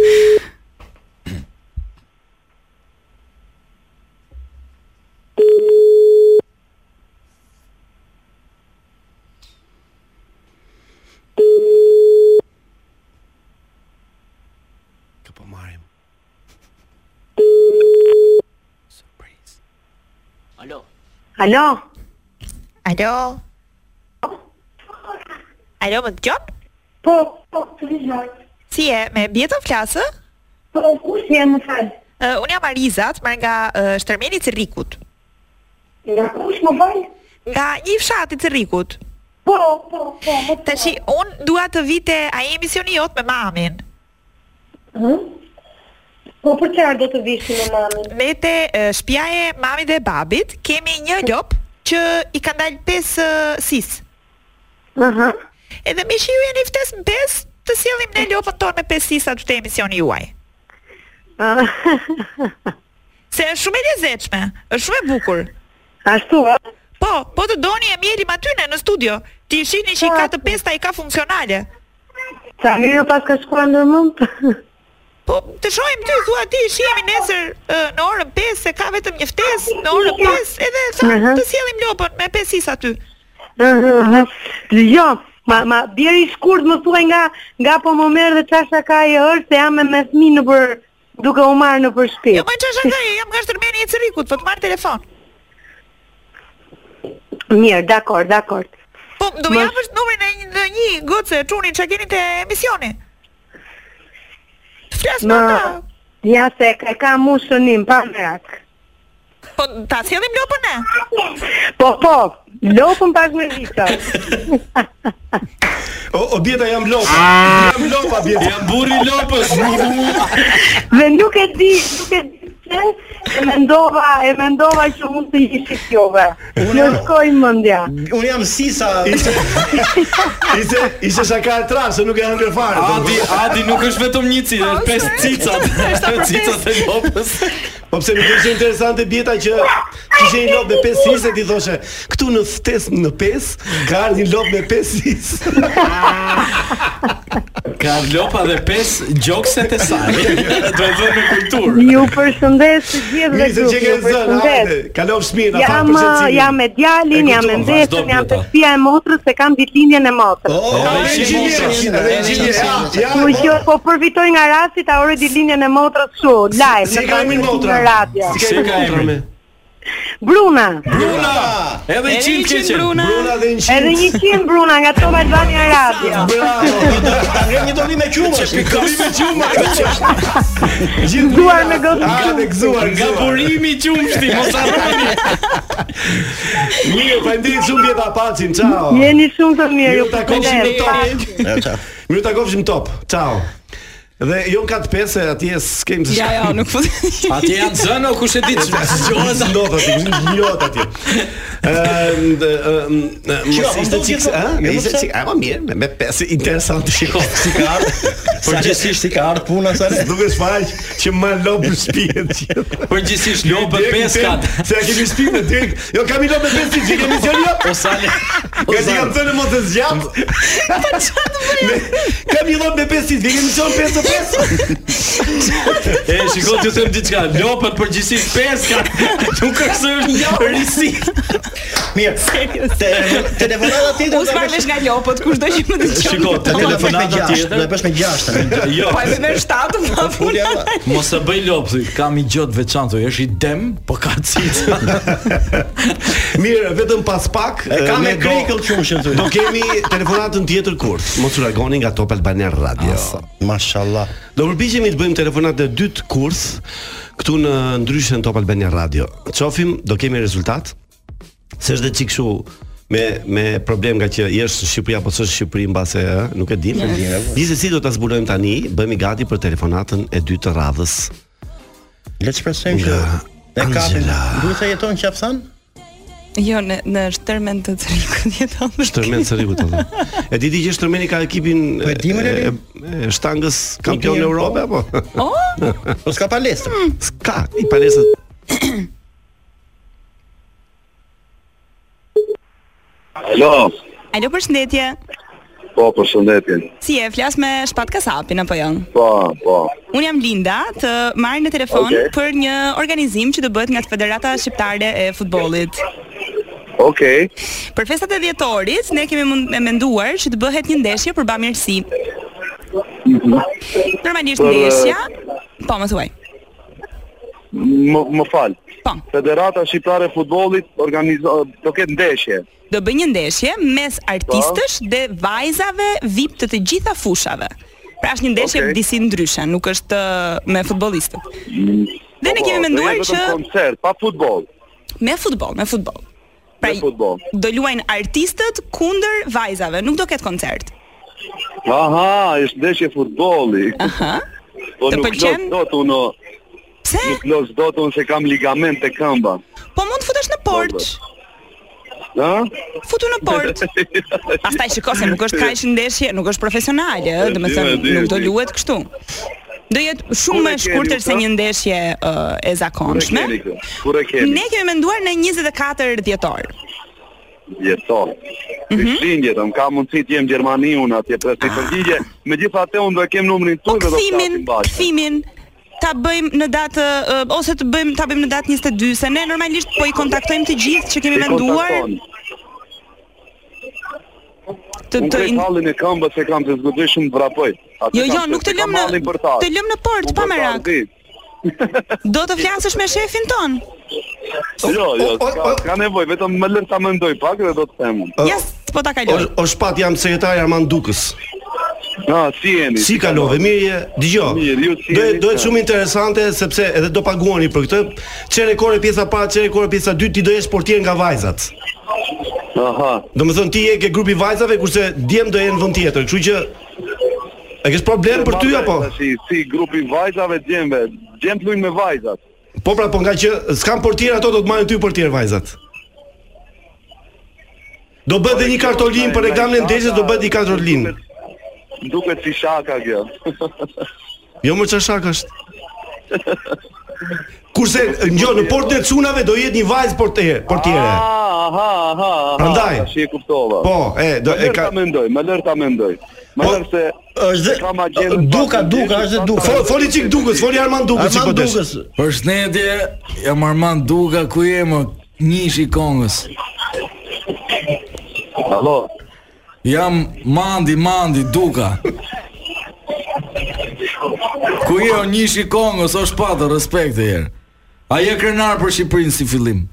S4: Kë po marrim.
S11: Alo,
S10: Alo. Alo, më dëgjon?
S11: po, po, të dëgjoj.
S10: Si je? Me bjetën flasë?
S11: Po, kush je më falë?
S10: Uh, unë jam Arizat, marrë nga uh, shtërmeni i Cirrikut.
S11: Nga kush më bëj?
S10: Nga një fshat i Cirrikut.
S11: Po, po, po, më të
S10: Tashi, unë dua të vite a e emisioni jot me mamin.
S11: Po, për qarë do të vishë me mamin?
S10: Me te uh, shpjaje mamit dhe babit, kemi një lop që i ka dalë 5 uh, sis.
S11: Aha.
S10: Edhe me shi ju jeni ftes në 5, të sjellim ne lopën tonë me 5 sisa të të emisioni juaj.
S11: Mhm.
S10: Se është shumë e lezetshme, është shumë e bukur.
S11: Ashtu, a?
S10: Po, po të doni e mjelim aty ne në studio. Ti shihni që i ka të pesta i ka funksionale.
S11: Sa mirë pas ka shkuar në mund?
S10: Po, të shohim ty, thua ti, shihemi nesër ë, në orën 5 se ka vetëm një ftesë në orën 5 edhe sa
S11: Aha.
S4: Mhm.
S10: të sjellim lopën me 5 sisa aty.
S11: Jo, ma, ma, bjeri i shkurt më thuaj nga, nga po më merë dhe qasha ka e është, se jam me me fmi në për, duke u marë në për shpi.
S10: Jo, më çfarë shangaj, jam nga shtërmeni i Cirrikut, po të marr telefon.
S11: Mirë, dakor, dakor.
S10: Po, do më
S11: Mos-
S10: japësh numrin e një, dhe një gocë çuni çka keni te emisioni. Flas me
S11: Ma,
S10: ta.
S11: ja se ka, ka mu shënim, pa merak.
S10: Po ta sjellim lopën ne.
S11: Po, po, lopën pas me vita.
S4: O, o bjeta jam lopa. Jam lopa bjeta. Jam burri lopës.
S11: Dhe nuk e di, nuk e di pse e mendova, e mendova që mund të ishit jove. Në shkoj mendja.
S8: Un jam sisa.
S4: (laughs) Ishte (laughs) ishte shaka e trashë, nuk e hëngër fare. po,
S7: Adi, Adi nuk është vetëm një cicë, është pesë cicat. Cicat e lopës.
S4: Po pse nuk ishte interesante bjeta që kishte një lop me 5 sisë ti thoshe, këtu në ftes në 5 ka ardhur një lop me 5 sisë.
S6: Ka vlopa dhe 5 gjokset e saj. Do e vëmë me kulturë.
S11: Ju përshëndes të gjithë (laughs) dhe
S4: Mirë se që
S11: grupin.
S4: ke
S11: Ju
S4: zënë, hajde.
S11: përshëndes.
S4: Kalof shmirë, na fal
S11: Jam uh,
S4: për shëndetësimin.
S11: jam me djalin,
S4: E
S11: jam me
S4: kuptova, vazhdo,
S11: ndesën, jam
S4: Bluta.
S11: të shtëpia e motrës se kam ditëlindjen e motrës.
S4: O,
S6: Edhe
S4: edhe inxhinier,
S6: inxhinier,
S4: edhe inxhinier. Ja, ja,
S11: Kështu që
S4: mo-
S11: po përfitoj nga rasti ta orë ditëlindjen e motrës kështu, live
S4: Si
S11: në
S4: ka emrin
S11: transmetim
S4: motra?
S11: në radio.
S4: Si ka
S6: Si ka
S4: emrin motra?
S6: emrin?
S4: me?
S11: Bruna,
S4: Bruna.
S6: Edhe i qimë
S9: Eriqin
S6: keqen.
S9: Bruna.
S4: Bruna
S11: (laughs)
S4: dhe
S11: edhe
S4: inxhinier.
S11: 100 Bruna nga Top Albania Radio.
S4: Bravo.
S12: Nga një doli me qumësh.
S4: Këmi me quma. Gjithë
S11: Gzuar
S4: Bruna.
S11: me gocë
S4: Ah, dhe gzuar,
S6: Nga
S4: gzuar.
S6: burimi i qumshti, mos harroni.
S4: Mirë, faleminderit shumë vjeta pacim. Ciao.
S11: Jeni shumë të mirë, ju
S4: Mirë takofshim në
S11: përshëndes.
S4: top. Mirë takofshim në top. Ciao. Dhe jo në katë pesë, atje s'kem se
S9: Ja,
S4: shka
S9: ja,
S4: (laughs)
S9: nuk po.
S6: Atje janë zënë o kush e ditë
S4: Gjore sa ndodhë atje, kush një jotë atje Ehm,
S12: Qo,
S8: po
S4: Mos ishte
S12: ndodh
S4: qikë,
S12: gjithë-
S4: ha?
S12: Jo,
S4: Ishte
S12: pse?
S4: qikë, a, ma mirë, me- me pesë, interesant Shiko,
S12: Si ka ardhur? Përgjithsisht si ka ardhur puna sa ne.
S4: duke shfaq që ma lopë në shpijet
S6: (laughs)
S4: gjithë
S6: Përgjithsisht lopët
S4: Direkt në
S6: 5
S4: tem,
S6: kat.
S4: Se a kemi shpijet në direkt Jo, kam i lopë në pesë, që kemi që jo
S6: O sale.
S4: Ka ti kam thënë mos të zgjat. Kam i dhënë me 5 ditë, kemi qenë 5 të 5.
S6: E shikoj ti them diçka, lopët përgjithsisht 5 kat. (laughs) Nuk është
S9: Jo,
S6: është risi.
S12: Mirë. Te telefonata tjetër.
S9: Unë
S12: do e
S9: s'marr
S12: bësh-
S9: vesh nga lopët, kushdo që më dëgjon.
S6: Shiko, te
S12: do e bësh me
S6: telefonata
S12: gjashtë, do e
S6: tjetër.
S12: bësh me gjashtë.
S6: Jo,
S9: Po e merr shtatën pa punë.
S12: Ulja.
S6: mos e bëj lopë, thuj, kam i gjotë veçantë, thuj, është i dem, po ka cica.
S4: Mirë, vetëm pas pak.
S12: E ka me
S4: ne do-
S12: krikël qumshin
S4: Do
S12: thonë.
S4: kemi telefonatën tjetër kurt. Mos u largoni nga Top Albania Radio.
S12: Mashallah.
S4: Do përpiqemi të bëjmë telefonatën e dytë kurs këtu në ndryshën Top Albania Radio. Qofim, do kemi rezultat. Se është dhe çik kështu me me problem nga që jesh në Shqipëri apo s'është në Shqipëri mbase ë, nuk e dim. Gjithsesi do ta zbulojmë tani, bëhemi gati për telefonatën e dytë të radhës.
S12: Le të shpresojmë që
S4: Nga
S12: e kapim.
S4: Angela.
S12: Duhet të jeton qafsan?
S9: Jo, në në shtërmen të të rikun jeton.
S4: Shtërmen Sërikut atë. E di ti që Shtërmeni ka ekipin
S12: Po e di, më, Lali?
S4: e shtangës kampion
S12: Ekipin,
S4: Europe apo? (laughs)
S9: O,
S12: Po s'ka palestër.
S4: Hmm. S'ka, i palesë.
S13: Alo,
S9: alo përshëndetje.
S13: po për shëndetin.
S9: Si e flas me Shpat Kasapin apo jo?
S13: Po, po.
S9: Un jam Linda, të marr në telefon
S13: Okej.
S9: për një organizim që do bëhet nga Federata Shqiptare e Futbollit.
S13: Okej,
S9: Për festat e dhjetorit, ne kemi mund- e menduar që të bëhet një ndeshje për bamirësi.
S13: Mhm.
S9: Normalisht
S13: Për, eh,
S9: ndeshja, po më thuaj.
S13: më më fal.
S9: Po,
S13: Federata Shqiptare e Futbollit organizo do ketë ndeshje.
S9: do bëj një ndeshje mes artistësh dhe vajzave VIP të të gjitha fushave. Pra është një ndeshje
S13: Okej.
S9: disi ndryshe, nuk është eh, me futbollistët. Dhe ne
S13: Po,
S9: kemi
S13: do
S9: menduar
S13: jetë vetëm
S9: që
S13: koncert pa futboll.
S9: me futboll, me futboll. Pra
S13: Me futboll.
S9: do luajnë artistët kundër vajzave, nuk do ketë koncert.
S13: Aha, është ndeshje futbolli.
S9: Aha.
S13: Po
S9: Të
S13: nuk
S9: pëlqen?
S13: los dot unë,
S9: Pse?
S13: nuk los dot unë se kam ligament te këmba.
S9: Po mund të futesh në porç.
S13: Ha?
S9: Futu në
S13: (laughs)
S9: port. Pastaj shiko se nuk është kaq ndeshje, nuk është profesionale, ë, domethënë
S13: E di, e di,
S9: nuk do
S13: e di.
S9: luhet kështu. Do jetë shumë
S13: Kur
S9: më
S13: e
S9: e
S13: keni
S9: shkurtër se
S13: këtë?
S9: një ndeshje ë, e
S13: Kur e
S9: zakonshme.
S13: keni kë? Kur e keni?
S9: Ne kemi menduar në 24 dhjetor.
S13: Jeton. Mm -hmm. Shinje, do ka mundësi të jem në Gjermani unë atje për
S9: Ah.
S13: të përgjigje. Megjithatë unë do e kem numrin
S9: Po
S13: tuaj dhe do të
S9: kthimin,
S13: flasim bashkë.
S9: kthimin ta bëjmë në datë ë, ose të bëjmë ta bëjmë në datë 22 se ne normalisht po i kontaktojmë të gjithë që kemi
S13: I
S9: menduar
S13: kontakton.
S9: të
S13: Unë
S9: të
S13: krejt
S9: in-
S13: hallin e këmbës e kam të zgjuar shumë vrapoj. Atë
S9: Jo,
S13: kam
S9: jo,
S13: se
S9: nuk të
S13: kam
S9: lëm në
S13: hallin për tas.
S9: të lëm në port
S13: Unë
S9: pa
S13: për tas,
S9: merak.
S13: di. (laughs)
S9: Do të flasësh me shefin ton.
S13: Jo, jo,
S4: o,
S13: s'ka-
S4: o.
S13: s'ka nevojë, vetëm më lër ta mendoj pak dhe do të them unë.
S9: Yes, po ta
S4: O,
S9: kaloj.
S4: o shpat jam sekretari Armand Dukës.
S13: Jo. Na, si jeni?
S4: Si kalove? Mirë, je? dëgjoj.
S13: Mirë, ju si
S4: Do
S13: jeni,
S4: do jetë
S13: sa?
S4: shumë interesante sepse edhe do paguani për këtë. Çere kore pjesa para, çere kore pjesa dytë, ti do jesh portier nga vajzat.
S13: Aha.
S4: Domethënë ti je ke grupi vajzave kurse djem do jenë në vend tjetër. Kështu që e kesh problem për ty apo?
S13: Tash, si grupi vajzave djemve, djemt luajnë me vajzat.
S4: Po pra, po nga që s'kan portier ato do të marrin ty portier vajzat. Do bëhet dhe një kartolin për reklamën e ndeshjes, do bëhet një kartolin.
S13: Më Duket si shaka kjo.
S4: Jo më çfarë shak është. Kurse ngjo në portën e Cunave do jetë një vajzë portier,
S14: Ah,
S4: portiere.
S13: Aha, aha, aha.
S4: Prandaj.
S13: Ah, Tash e kuptova.
S4: Po, e do
S13: Më
S4: e
S13: lër
S4: ka
S13: ta mendoj, më lër ta mendoj. Më
S4: Po-
S13: lër se
S8: Është dhe Duka, Duka, është dhe Duka.
S4: Fo- foli çik Dukës, foli Armand Dukës, çik po desh.
S7: Përshëndetje, jam Armand Duka, ku je më? Njish i Kongës.
S15: Allo.
S7: Jam Mandi, Mandi Duka. Ku je o njish i Kongës, o shpatë, respekt e herë. A je krenar për Shqipërinë si fillim?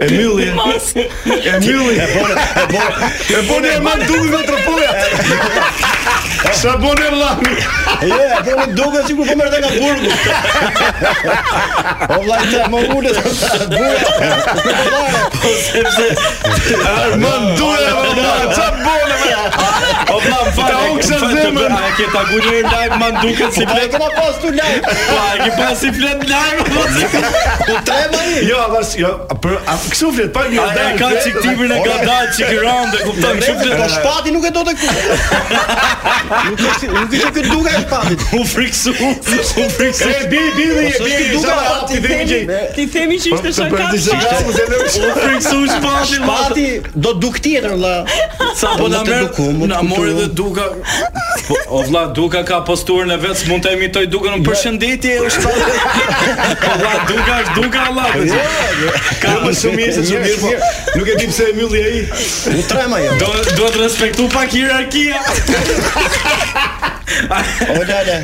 S4: E mylli. E mylli. E bën, e bën. E bën e man duket me tropoja. Sa bën e llami.
S8: Je, e bën duket sikur po merrte nga burgu. O vllai të më ulet.
S6: Po sepse
S4: Armand duhet me vllai, ça bën me.
S6: O vlla, më fal.
S4: Ta uksa zemrën.
S6: A e ke ta gulur në live man duket si
S8: Po e
S6: flet.
S8: kena pas tu live.
S6: Po a e ke pas si flet live apo si?
S8: U trema i.
S4: Jo, avash, jo, a për a kështu flet pak një
S6: A e ka çik tipin e ka dalë çik rëndë, kupton? Kështu flet.
S8: Po shpati nuk e do të ku. Nuk është, nuk ishte ky duka e shpatit.
S6: U friksu, u friksu.
S4: E bi bi bi
S8: Mos është
S4: bi
S8: ky
S4: duka
S8: duka
S4: ti
S8: ti
S4: dhe gjej.
S8: themi.
S9: Ti themi që ishte shaka.
S6: U friksu shpati,
S8: Shpati do duk tjetër vëlla.
S6: Sa po
S8: Po
S6: na
S8: mos të
S6: merr
S8: duku, mos
S6: na
S8: të
S6: mori
S8: duku.
S6: dhe Duka. Po o vlla Duka ka posturën e vet, s'mund ta imitoj Dukën në përshëndetje është. Po vlla Duka është Duka vlla.
S4: Po, jo,
S6: Ka
S4: Ka Jo, më shumë mirë se shumë mirë, po nuk e di pse e mylli ai.
S8: U trema jo.
S6: do do të respektu pak hierarkia.
S8: O lale.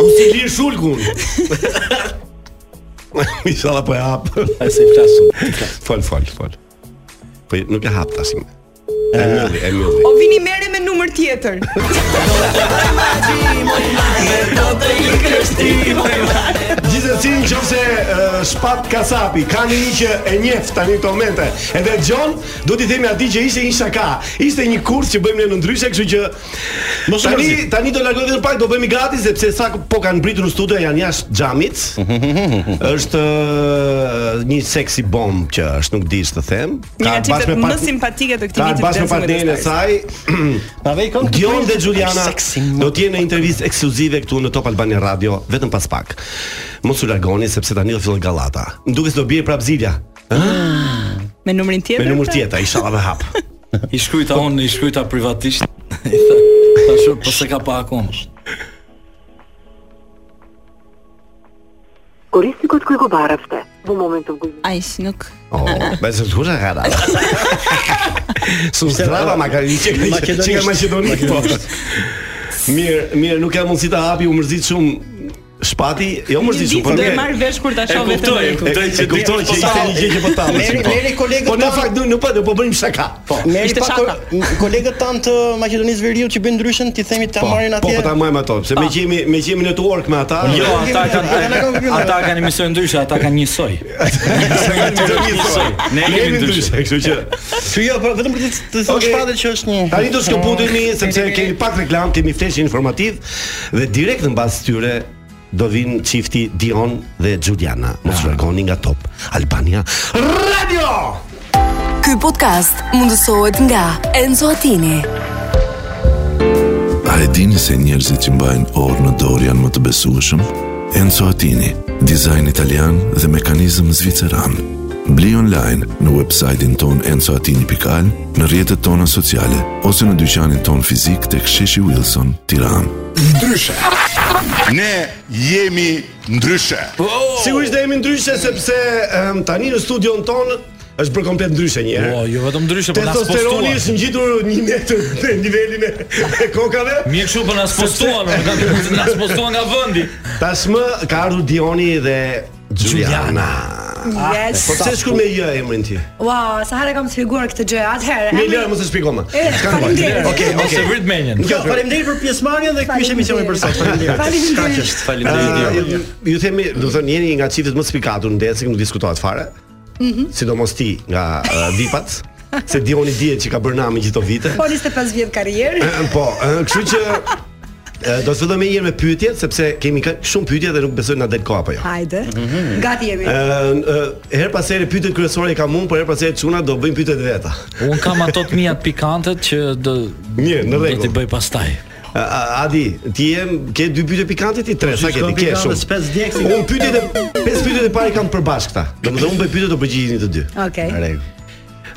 S4: Unë si lir shulgun. Inshallah po e hap.
S6: Ai se flas.
S4: Fol, fol, fol. Po nuk e hap tash. më. E mylli, e mylli.
S9: O vini merre me numër tjetër.
S4: Gjithsesi nëse uh, shpat kasapi ka një që e njeh tani këto momente. Edhe Gjon do t'i themi atij që ishte një shaka. Ishte një kurs që bëjmë ne në ndryshe, kështu që
S16: Mos u
S4: tani
S16: mërzi.
S4: tani do largoj vetëm pak, do bëhemi gati sepse sa po kanë mbritur në studio janë jashtë xhamit.
S16: (laughs)
S4: është ë, një seksi bomb që është, nuk di ç'të them.
S9: Një nga
S4: ardhë
S9: çiftet më
S4: part-
S9: simpatike të
S4: Ka
S9: këtij viti.
S4: bashkë me partnerin e saj,
S8: Pa vej kon.
S4: Dion dhe Juliana do të jenë në intervistë ekskluzive këtu në Top Albania Radio, vetëm pas pak. Mos u largoni sepse tani do fillon gallata. Më duket se do bie prap Zilja
S9: Me numrin tjetër.
S4: me numër
S9: pra?
S4: tjetër, inshallah dhe (laughs) hap.
S6: I shkruajta on, i shkruajta
S7: (laughs)
S6: privatisht. I tha, tash po se ka pa akoma.
S17: Korisnikët koji go barafte во моментот го
S18: Aq nuk
S4: Oh, besoj se kush e (laughs) ka dalë. Su strava ma ka që
S8: Maqedonisht.
S4: që nga Maqedoni po. Mirë, mirë, nuk ka mundësi ta hapi, u mërzit shumë shpati, jo
S9: Një
S4: mërzit
S9: ditë
S4: shumë, po
S9: do e
S4: mirë.
S9: marr vesh kur ta
S6: E
S9: shoh vetëm.
S6: kuptoj, e
S9: rregull.
S6: kuptoj që
S4: E kuptoj që ishte një gjë që po ta
S8: Meri, meri
S4: Po
S8: kolegët
S4: në
S8: tanë-
S4: fakt nuk nuk po nuk po bërim shaka. Po.
S8: Meri
S9: Ishte
S8: pa
S9: shaka.
S8: ko- kolegët tan të Maqedonisë Veriut që bëjnë ndryshën, ti themi ta
S4: Po,
S8: marrin
S4: po,
S8: atje.
S4: po ta marrim ato, se me qemi me qemi në twerk me ata.
S6: Jo, ata
S8: Ata kanë
S6: kanë
S8: kompjuter.
S6: ata kanë emision ndryshe, ata kanë njësoj. Ne jemi ndryshe.
S4: kështu që
S8: Ky jo, po vetëm për të të thosh
S4: Okej.
S8: shpatet që është një.
S4: tani do skëputemi sepse kemi pak reklam, kemi fleshë informativ dhe direkt në bazë tyre do vinë çifti Dion dhe Juliana. Mos largoni nga Top Albania Radio.
S1: Ky podcast mundësohet nga Enzo Attini.
S2: A e dini se njerëzit që mbajnë orë në dorë janë më të besueshëm? Enzo Attini, dizajn italian dhe mekanizëm zviceran. Bli online në website-in ton enzoatini.al, në rjetët tona sociale, ose në dyqanin ton fizik të ksheshi Wilson, tiran.
S19: Ndryshe. Ne jemi ndryshe.
S4: Po, Sigurisht do jemi ndryshe sepse em, tani në studion ton është bërë komplet ndryshe një herë.
S7: Po, jo vetëm ndryshe, po na
S4: Testosteroni
S7: spostuan.
S4: është ngjitur një metër në nivelin e- e kokave.
S6: Mirë kështu po na
S4: (laughs)
S6: spostuan, po na spostuan nga vendi.
S4: Tashmë ka ardhur Dioni dhe Juliana.
S14: Yes.
S4: Po pse shkruaj me j emrin ti?
S14: Wow, sa herë kam sfiguar këtë gjë. Atëherë.
S4: Me
S14: emri-
S4: lërë mos e shpjegoj më.
S14: Eh,
S4: S'ka nevojë.
S14: faleminderit.
S4: Okej,
S6: Mos e
S4: okej.
S6: vrit menjen.
S4: Nuk
S8: Jo,
S4: ka problem.
S8: faleminderit për pjesëmarrjen dhe ky ishte emisioni për sot. Faleminderit.
S14: Faleminderit.
S8: Kaq është.
S4: Ah,
S6: Faleminderit.
S4: ju- Ju themi, do të thonë jeni nga çiftet më të spikatur ndesë, nuk diskutohet fare.
S14: Mhm.
S4: Sidomos ti nga eh, vipat, se Dioni dihet që ka bërë namin gjithë këto vite.
S14: Po 25 vjet karrierë.
S4: Eh, Po, eh, kështu që eh, do të fillojmë një herë me pyetjet sepse kemi ka- shumë pyetje dhe nuk besoj na del koha apo jo.
S14: Hajde. Gati jemi.
S4: Ë, ë, her pas here pyetjet kryesore i kam unë, por her pas here çuna do bëjmë pyetjet e veta.
S7: Un kam ato të mia të pikante që do
S4: Mirë, në
S7: do t'i
S4: rregull.
S7: bëj pastaj.
S4: A- a- Adi, ti jem ke dy pyetje pikante ti tre, sa ke
S8: Shko
S4: ti ke
S8: Po, pikante,
S4: shumë.
S8: s'pes djegsi.
S4: Unë pyetjet e pesë pyetjet e parë i kam përbash këta. Domethënë unë bëj pyetjet do përgjigjeni të dy.
S14: Okej.
S4: Në rregull.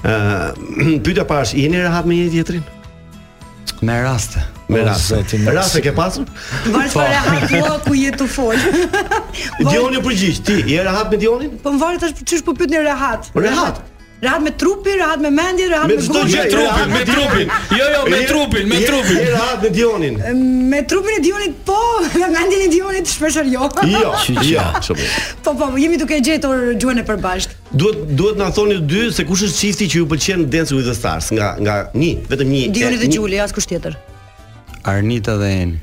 S4: Ë, (clears throat) pyetja para është, jeni rehat me njëri tjetrin?
S20: Me raste.
S4: Me
S20: O,
S4: raste.
S20: zotin, mos-
S4: Raste ke pasur?
S14: Varet
S4: Po.
S14: fare hapua ku je tu fol.
S4: Dioni përgjigj, ti je rehat me Dionin?
S14: Po më varet tash çysh po pyetni rehat.
S4: Rehat.
S14: Rehat me trupin, rehat me mendjen, rehat me
S4: Me çdo
S14: gojën.
S4: gjë, rehat Dionin.
S7: Jo,
S4: Je- je- Je rehat me
S14: (laughs)
S4: Dionin.
S14: Me trupin e Dionit po, (laughs) me mendjen e Dionit shpeshherë jo. (laughs)
S4: Jo, jo, shumë.
S14: Po po, jemi duke gjetur gjuhën e përbashkët.
S4: Duhet duhet na thoni të dy se kush është çifti që ju pëlqen Dance with the Stars nga nga një, vetëm një.
S14: Dioni
S4: e-
S14: dhe
S4: një-
S14: Gjuli, askush tjetër.
S20: Arnita dhe Eni.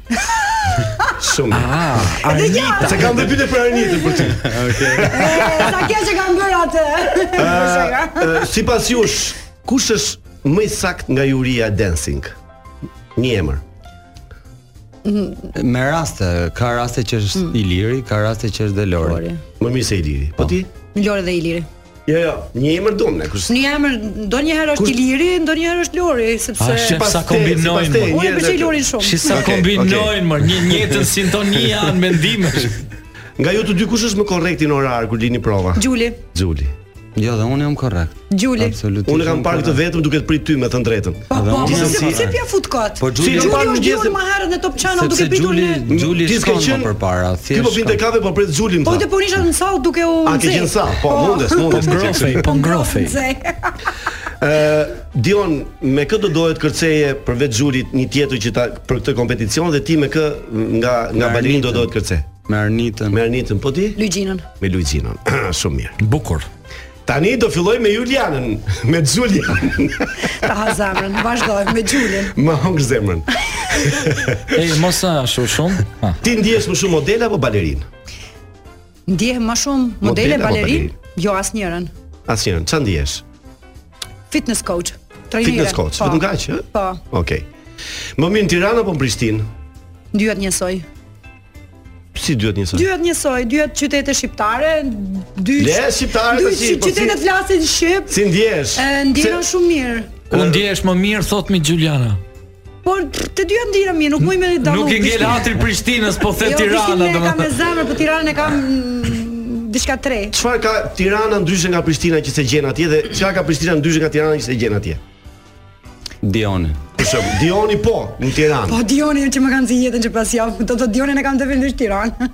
S4: Shumë.
S20: Ah,
S14: Edhe ja.
S4: Se kam dhe pyetje për Arnitën për ty.
S20: Okej.
S14: E, sa kjo që kam bërë atë.
S4: Ë, Sipas jush, kush është më i sakt nga juria e dancing? Një emër.
S20: Me raste, ka raste që është
S14: Mm.
S20: Iliri, ka raste që është dhe Lori.
S4: Më mirë se Iliri. Po ti?
S14: Lori dhe Iliri.
S4: Jo, jo, një emër dom ne, kush.
S14: Një emër ndonjëherë është Iliri, ndonjëherë është Lori, sepse
S4: Ah,
S7: A, shef sa kombinojnë.
S14: te, Unë e pëlqej Lorin shumë.
S7: Shi sa
S4: Okej,
S7: kombinojnë
S4: okej.
S7: mor, një njëtën sintonia në mendime.
S4: Nga ju të dy kush është më korrekt në orar kur lini prova?
S14: Gjuli.
S4: Xuli.
S20: Jo, dhe unë jam korrekt.
S14: Gjuli.
S20: Absolutisht.
S4: Unë e kam parë këtë vetëm duke të prit ty me të drejtën.
S14: Po, po, se pse pia fut kot?
S20: Po, Gjuli-
S14: Gjuli
S20: Gjuli
S4: është
S14: është
S4: gjithë-
S14: Gjuli më herët në Top Channel
S20: Sepse
S14: duke pritur
S20: Gjuli,
S14: në
S20: Gjuli
S4: Ti s'ke
S20: shkon më
S4: qenë-
S20: përpara.
S4: Ky po vinte kafe po prit Xulin.
S14: Po
S4: tha.
S14: dhe po nisha në sallë duke u
S4: A, ke
S14: nxehtë.
S4: qenë sallë, po, mundes, mundes, Po, ke qenë ngrofej, sallë. po, ngrofej.
S14: Nxehtë.
S4: Ë Dion, me kë do dohet kërceje përveç Xulit një tjetër që ta për këtë kompeticion dhe ti me kë nga nga
S20: Me
S4: balerin do
S20: Arnitën.
S4: dohet kërce?
S20: Me Arnitën.
S4: Me Arnitën, po ti?
S14: Luigjinën.
S4: Me Luizinën. (clears throat) Shumë mirë.
S7: Bukur.
S4: Tani do filloj me Julianën, (laughs) me Xulianën.
S14: Ta ha zemrën, vazhdoj me Gjulin.
S4: (laughs) Më hongër zemrën.
S7: Ej, mos ashtu shumë.
S4: Ti ndjesh më shumë model apo balerin?
S14: Ndjehem më shumë
S4: Model
S14: modele
S4: apo
S14: balerin,
S4: balerin?
S14: jo asnjërin.
S4: Asnjërin, ç'a ndjesh?
S14: Fitness coach. Trajnere.
S4: Fitness coach,
S14: po.
S4: vetëm kaq, ë?
S14: Po,
S4: eh? Okej. Më mirë në po Tiranë apo në Prishtinë?
S14: dyat njësoj.
S4: Si duhet njësoj?
S14: Dyat njësoj, dyat qytete shqiptare, dy
S4: Le, shqiptare,
S14: dy
S4: po si- po si-
S14: qytete flasin shqip.
S4: Si ndjesh?
S14: E, Ndjehem shumë mirë.
S7: U ndjesh më mirë thot mi Gjuliana.
S14: Por të dyja ndjehem mirë, nuk muj me dallu.
S7: Nuk i ngel hatri Prishtinës, po the Tirana
S14: Jo, Prishtinën e kam me
S7: domethënë.
S14: zemër, po Tiranën e kam mm, diçka tre.
S4: Çfarë ka Tirana ndryshe nga Prishtina që se gjen atje dhe çfarë ka Prishtina ndryshe nga Tirana që se gjen atje?
S20: Dioni.
S4: Për shemb, Dioni po në Tiranë.
S14: Po Dioni që më kanë zi jetën që pas javë, do të Dionin e kam definitivisht Tiranë.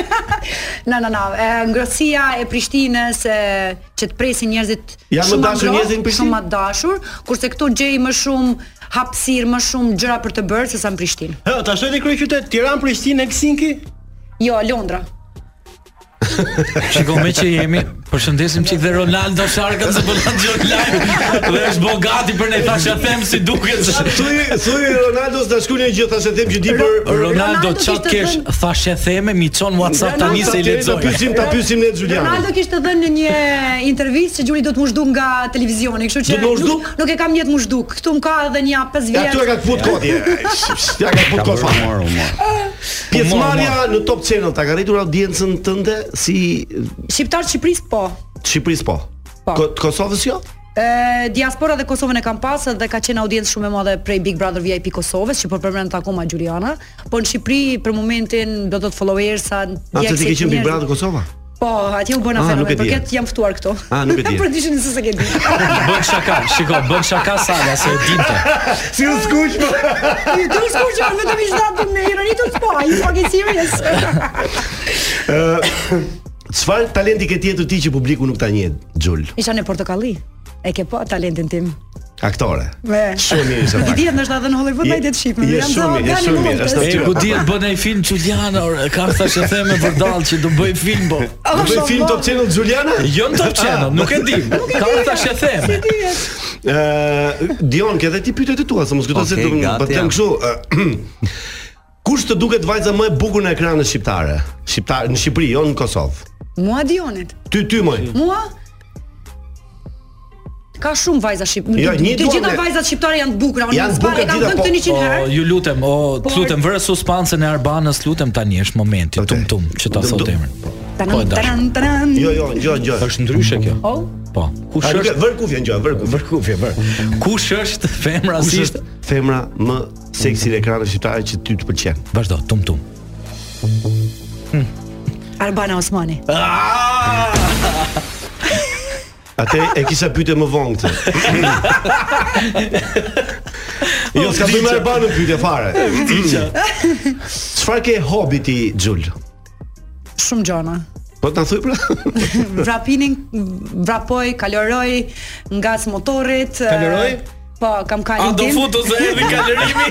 S14: (laughs) na na na, e, ngrohtësia e Prishtinës e, që të presin njerëzit
S4: Janë më
S14: shumë
S4: dashur
S14: anglo,
S4: njerëzit në Prishtinë?
S14: Shumë të dashur, kurse këtu gjej më shumë hapësirë, më shumë gjëra për të bërë sesa në Prishtinë.
S12: Hë, ta shoj te krye qytet Tiranë, Prishtinë, Helsinki.
S14: Jo, Londra.
S7: Shikoj me që jemi, përshëndesim çik dhe Ronaldo Sharkën se po na dëgjon live dhe është bogati për ne tash ja them si duket.
S4: Thuj, thuj Ronaldo s'na shkruaj gjë thashë them që di për
S7: Ronaldo çat kesh thashë e theme mi çon WhatsApp tani se i lexoj.
S4: Ta pyesim, ta pyesim ne Xhulian.
S14: Ronaldo kishte dhënë në një intervistë që Gjuri do të më zhduk nga televizioni, kështu që
S4: Do të më
S14: nuk, nuk e kam jetë më zhduk. Këtu më ka edhe një 5
S4: Ja
S14: vjet.
S4: tu e ka të fut koti. Ja ka të fut kot fare.
S20: Humor, humor.
S4: Pjesëmarrja në Top Channel ta ka rritur audiencën tënde si
S14: Shqiptar të Shqipërisë po.
S4: Shqipëris po.
S14: Po.
S4: Ko- Kosovës jo?
S14: E, diaspora dhe Kosovën e kam pasë dhe ka qenë audiencë shumë e madhe prej Big Brother VIP Kosovës, që po përmend akoma Gjuriana, po në Shqipëri për momentin do të të followersa
S4: Atë ti ke
S14: ndjekësit,
S4: qenë Big
S14: njerëzit-
S4: Brother Kosova?
S14: Po, atje u bën
S4: Ah,
S14: afera,
S4: nuk e
S14: për
S4: dija.
S14: këtë jam ftuar këtu.
S4: Ah, nuk e dija.
S14: (laughs) Për dishën se
S4: (laughs)
S14: s'e ke di.
S7: Bën shaka, shiko, bën shaka Sala se e dinte.
S14: (laughs)
S4: Si u skuq po.
S14: Ti do skuqjon vetëm i zgjat me ironi të po, ai po ke serious.
S4: Ë Çfarë talenti ke tjetër ti që publiku nuk ta njeh, Xhul?
S14: Isha në portokalli. E ke po talentin tim.
S4: Aktore.
S14: Me.
S4: Shumë mirë isha
S14: I
S4: pak.
S14: dihet ndoshta edhe në Hollywood
S4: Je-
S14: ai det shipim.
S4: je shumë mirë, je shumë mirë, është
S7: E
S4: natyrë.
S7: ku dihet bën ai film Gjuliana, or, ka thashë e theme për dall që do bëj film po.
S4: Do bëj film Top Channel Xhuliana?
S7: Jo në Top Channel, nuk e di. Ka thashë e theme.
S4: Ë Dion, ke edhe ti pyetjet e tua, se mos kujto se
S20: Okej,
S4: do
S20: gati
S4: po të them
S20: jam.
S4: kështu. ë, (clears throat) Kush të duket vajza më e bukur në ekranin shqiptare? Shqiptar në Shqipëri, jo në Kosovë.
S14: Mua Dionit.
S4: Ty ty moj.
S14: Mua Ka shumë vajza shqip.
S4: Jo,
S14: të
S4: një duam
S14: gjitha
S4: ne.
S14: vajzat shqiptare janë të bukura. Unë
S4: Janë
S14: s'pare
S4: bukura
S14: kam
S4: gjitha,
S14: thënë
S4: po,
S14: këtë 100 herë.
S7: O, ju lutem, o,
S14: Por-
S7: të lutem vëre suspansën e Arbanës, lutem tani është momenti, tum tum, që ta
S4: Dum,
S7: thot
S4: dum.
S7: emrin.
S14: Tanan
S7: Po, e dashur.
S14: tanan tanan.
S4: Jo, jo, ngjo, ngjo.
S7: Është ndryshe kjo.
S14: Oh,
S7: Po. Kush
S4: A, nuk e-
S7: është?
S4: Vër kufje ngjo, vër kufje. Vër kufje, vër.
S7: Kush është (laughs) femra
S4: Kush
S7: si
S4: është femra më seksi në ekranin shqiptare që ty të pëlqen?
S7: Vazhdo, tum tum.
S14: Arbana Osmani.
S4: Atë e kisha pyetje më vonë
S7: (laughs)
S4: këtë. jo, s'ka bëjmë e banë pyetje fare. Çfarë ke hobi ti, Xhul?
S14: Shumë gjona.
S4: Po të na thuj pra.
S14: Vrapinin, vrapoj, kaloroj nga motorit. e,
S4: Kaloroj?
S14: Po, kam kalin
S6: A do
S14: tim.
S6: futu se erdhi kalorimi?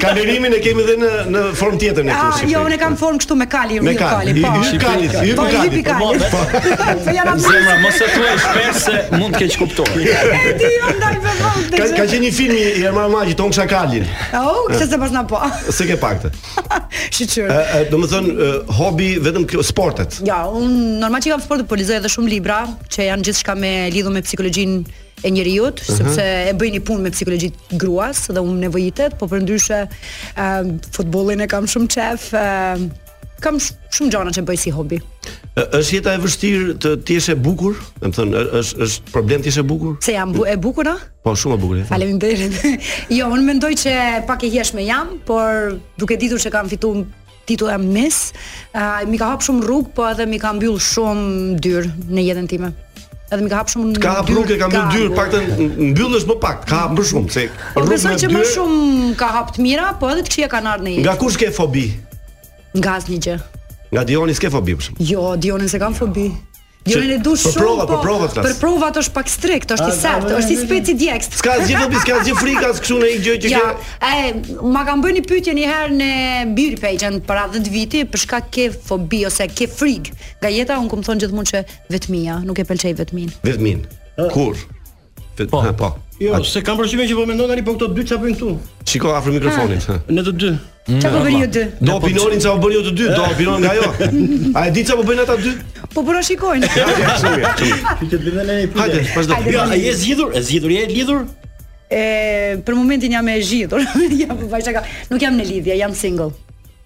S4: Kalorimin e kemi edhe në në formë tjetër ne
S14: Ah,
S4: këtu. në
S14: jo,
S4: Shqipëri.
S14: unë e kam formë kështu me kali, me
S4: Me kali,
S14: kali,
S4: i-
S14: po.
S4: i- i kalit, i- i
S14: Po, i
S4: kalit,
S14: hipi kalit.
S4: po,
S14: (laughs) Po janë atë.
S7: Zemra, mos e thuaj shpesh se mund të keq kuptoj.
S14: E di ju ndaj me vëmë.
S4: Ka ka qenë një film i i Erman Magji ton kisha kalin.
S14: Au, këtë se pas na
S4: (laughs)
S14: po.
S4: Se ke pak të.
S14: Shiqyr.
S4: Ë, do të thon hobi vetëm kjo sportet.
S14: Ja, unë normal që kam sportet, po lexoj edhe shumë libra që janë gjithçka me lidhur me psikologjinë e njerëzit,
S4: Mhm.
S14: sepse e bëj një punë me psikologjitë gruas dhe unë nevojitet, po përndryshe ë futbollin e kam shumë qef, ë kam sh- shumë gjëra që bëj si hobi.
S4: Ë, Është jeta e vështirë të të jesh e bukur? Do të thon ë- është është problem të jesh e bukur?
S14: Se jam bu e bukur, a?
S4: Po shumë e bukur. e.
S14: Faleminderit. (laughs) jo, unë mendoj që pak e hijshme jam, por duke ditur që kam fituar titullën Miss, uh, mi ka hap shumë rrugë, po edhe mi ka mbyll shumë dyr në jetën time. Edhe mi ka hap shumë
S4: Ka hap rrugë, ka mbyll dyr, paktën mbyllësh më pak, ka hap më shumë se
S14: Po besoj
S4: me
S14: që më
S4: dyr-
S14: shumë ka hap të mira, po edhe të këqija kanë ardhur në jetë.
S4: Nga kush ke fobi?
S14: Nga asnjë gjë.
S4: Nga Dioni s'ke fobi për shkak.
S14: Jo, Dionin se kam fobi. Dionin
S4: Që-
S14: e du
S4: për
S14: shumë,
S4: provat,
S14: po,
S4: për provat flas.
S14: për provat është pak strikt, është
S4: A,
S14: i sakt,
S4: a,
S14: është i
S4: a,
S14: speci djekst.
S4: S'ka asgjë fobi, s'ka asgjë frikë,
S14: (laughs)
S4: as kështu në një gjë që
S14: ja,
S4: ke-
S14: e, ma kam bërë një pyetje një herë në Beauty Page-ën para 10 viti, për shkak ke fobi ose ke frikë. Nga jeta unë kam thonë gjithmonë që vetmia, nuk e pëlqej vetmin.
S4: Vetmin. Kur? Vet- Ha, Ah. po.
S12: Jo, se kam përshtypjen që po mendon tani po këto dy çfarë bëjnë këtu.
S4: Shiko afër mikrofonit.
S14: Ah.
S4: ha.
S12: Në të dy.
S20: Mm,
S14: Çfarë po bëni ju dy?
S4: (laughs) Do opinonin çfarë bëni ju jo të dy, do opinonin nga ajo. A e di çfarë po bëjnë ata dy?
S14: Po po na shikojnë.
S4: Ja, shumë mirë, shumë mirë.
S12: Ti të bënë një pyetje.
S4: Hajde, vazhdo. Hajde,
S12: Jo,
S4: vazhdo.
S12: a je zgjidhur? E zgjidhur je e lidhur?
S14: E, për momentin jam e zgjidhur. jam po vajza ka. Nuk jam në lidhje, jam single.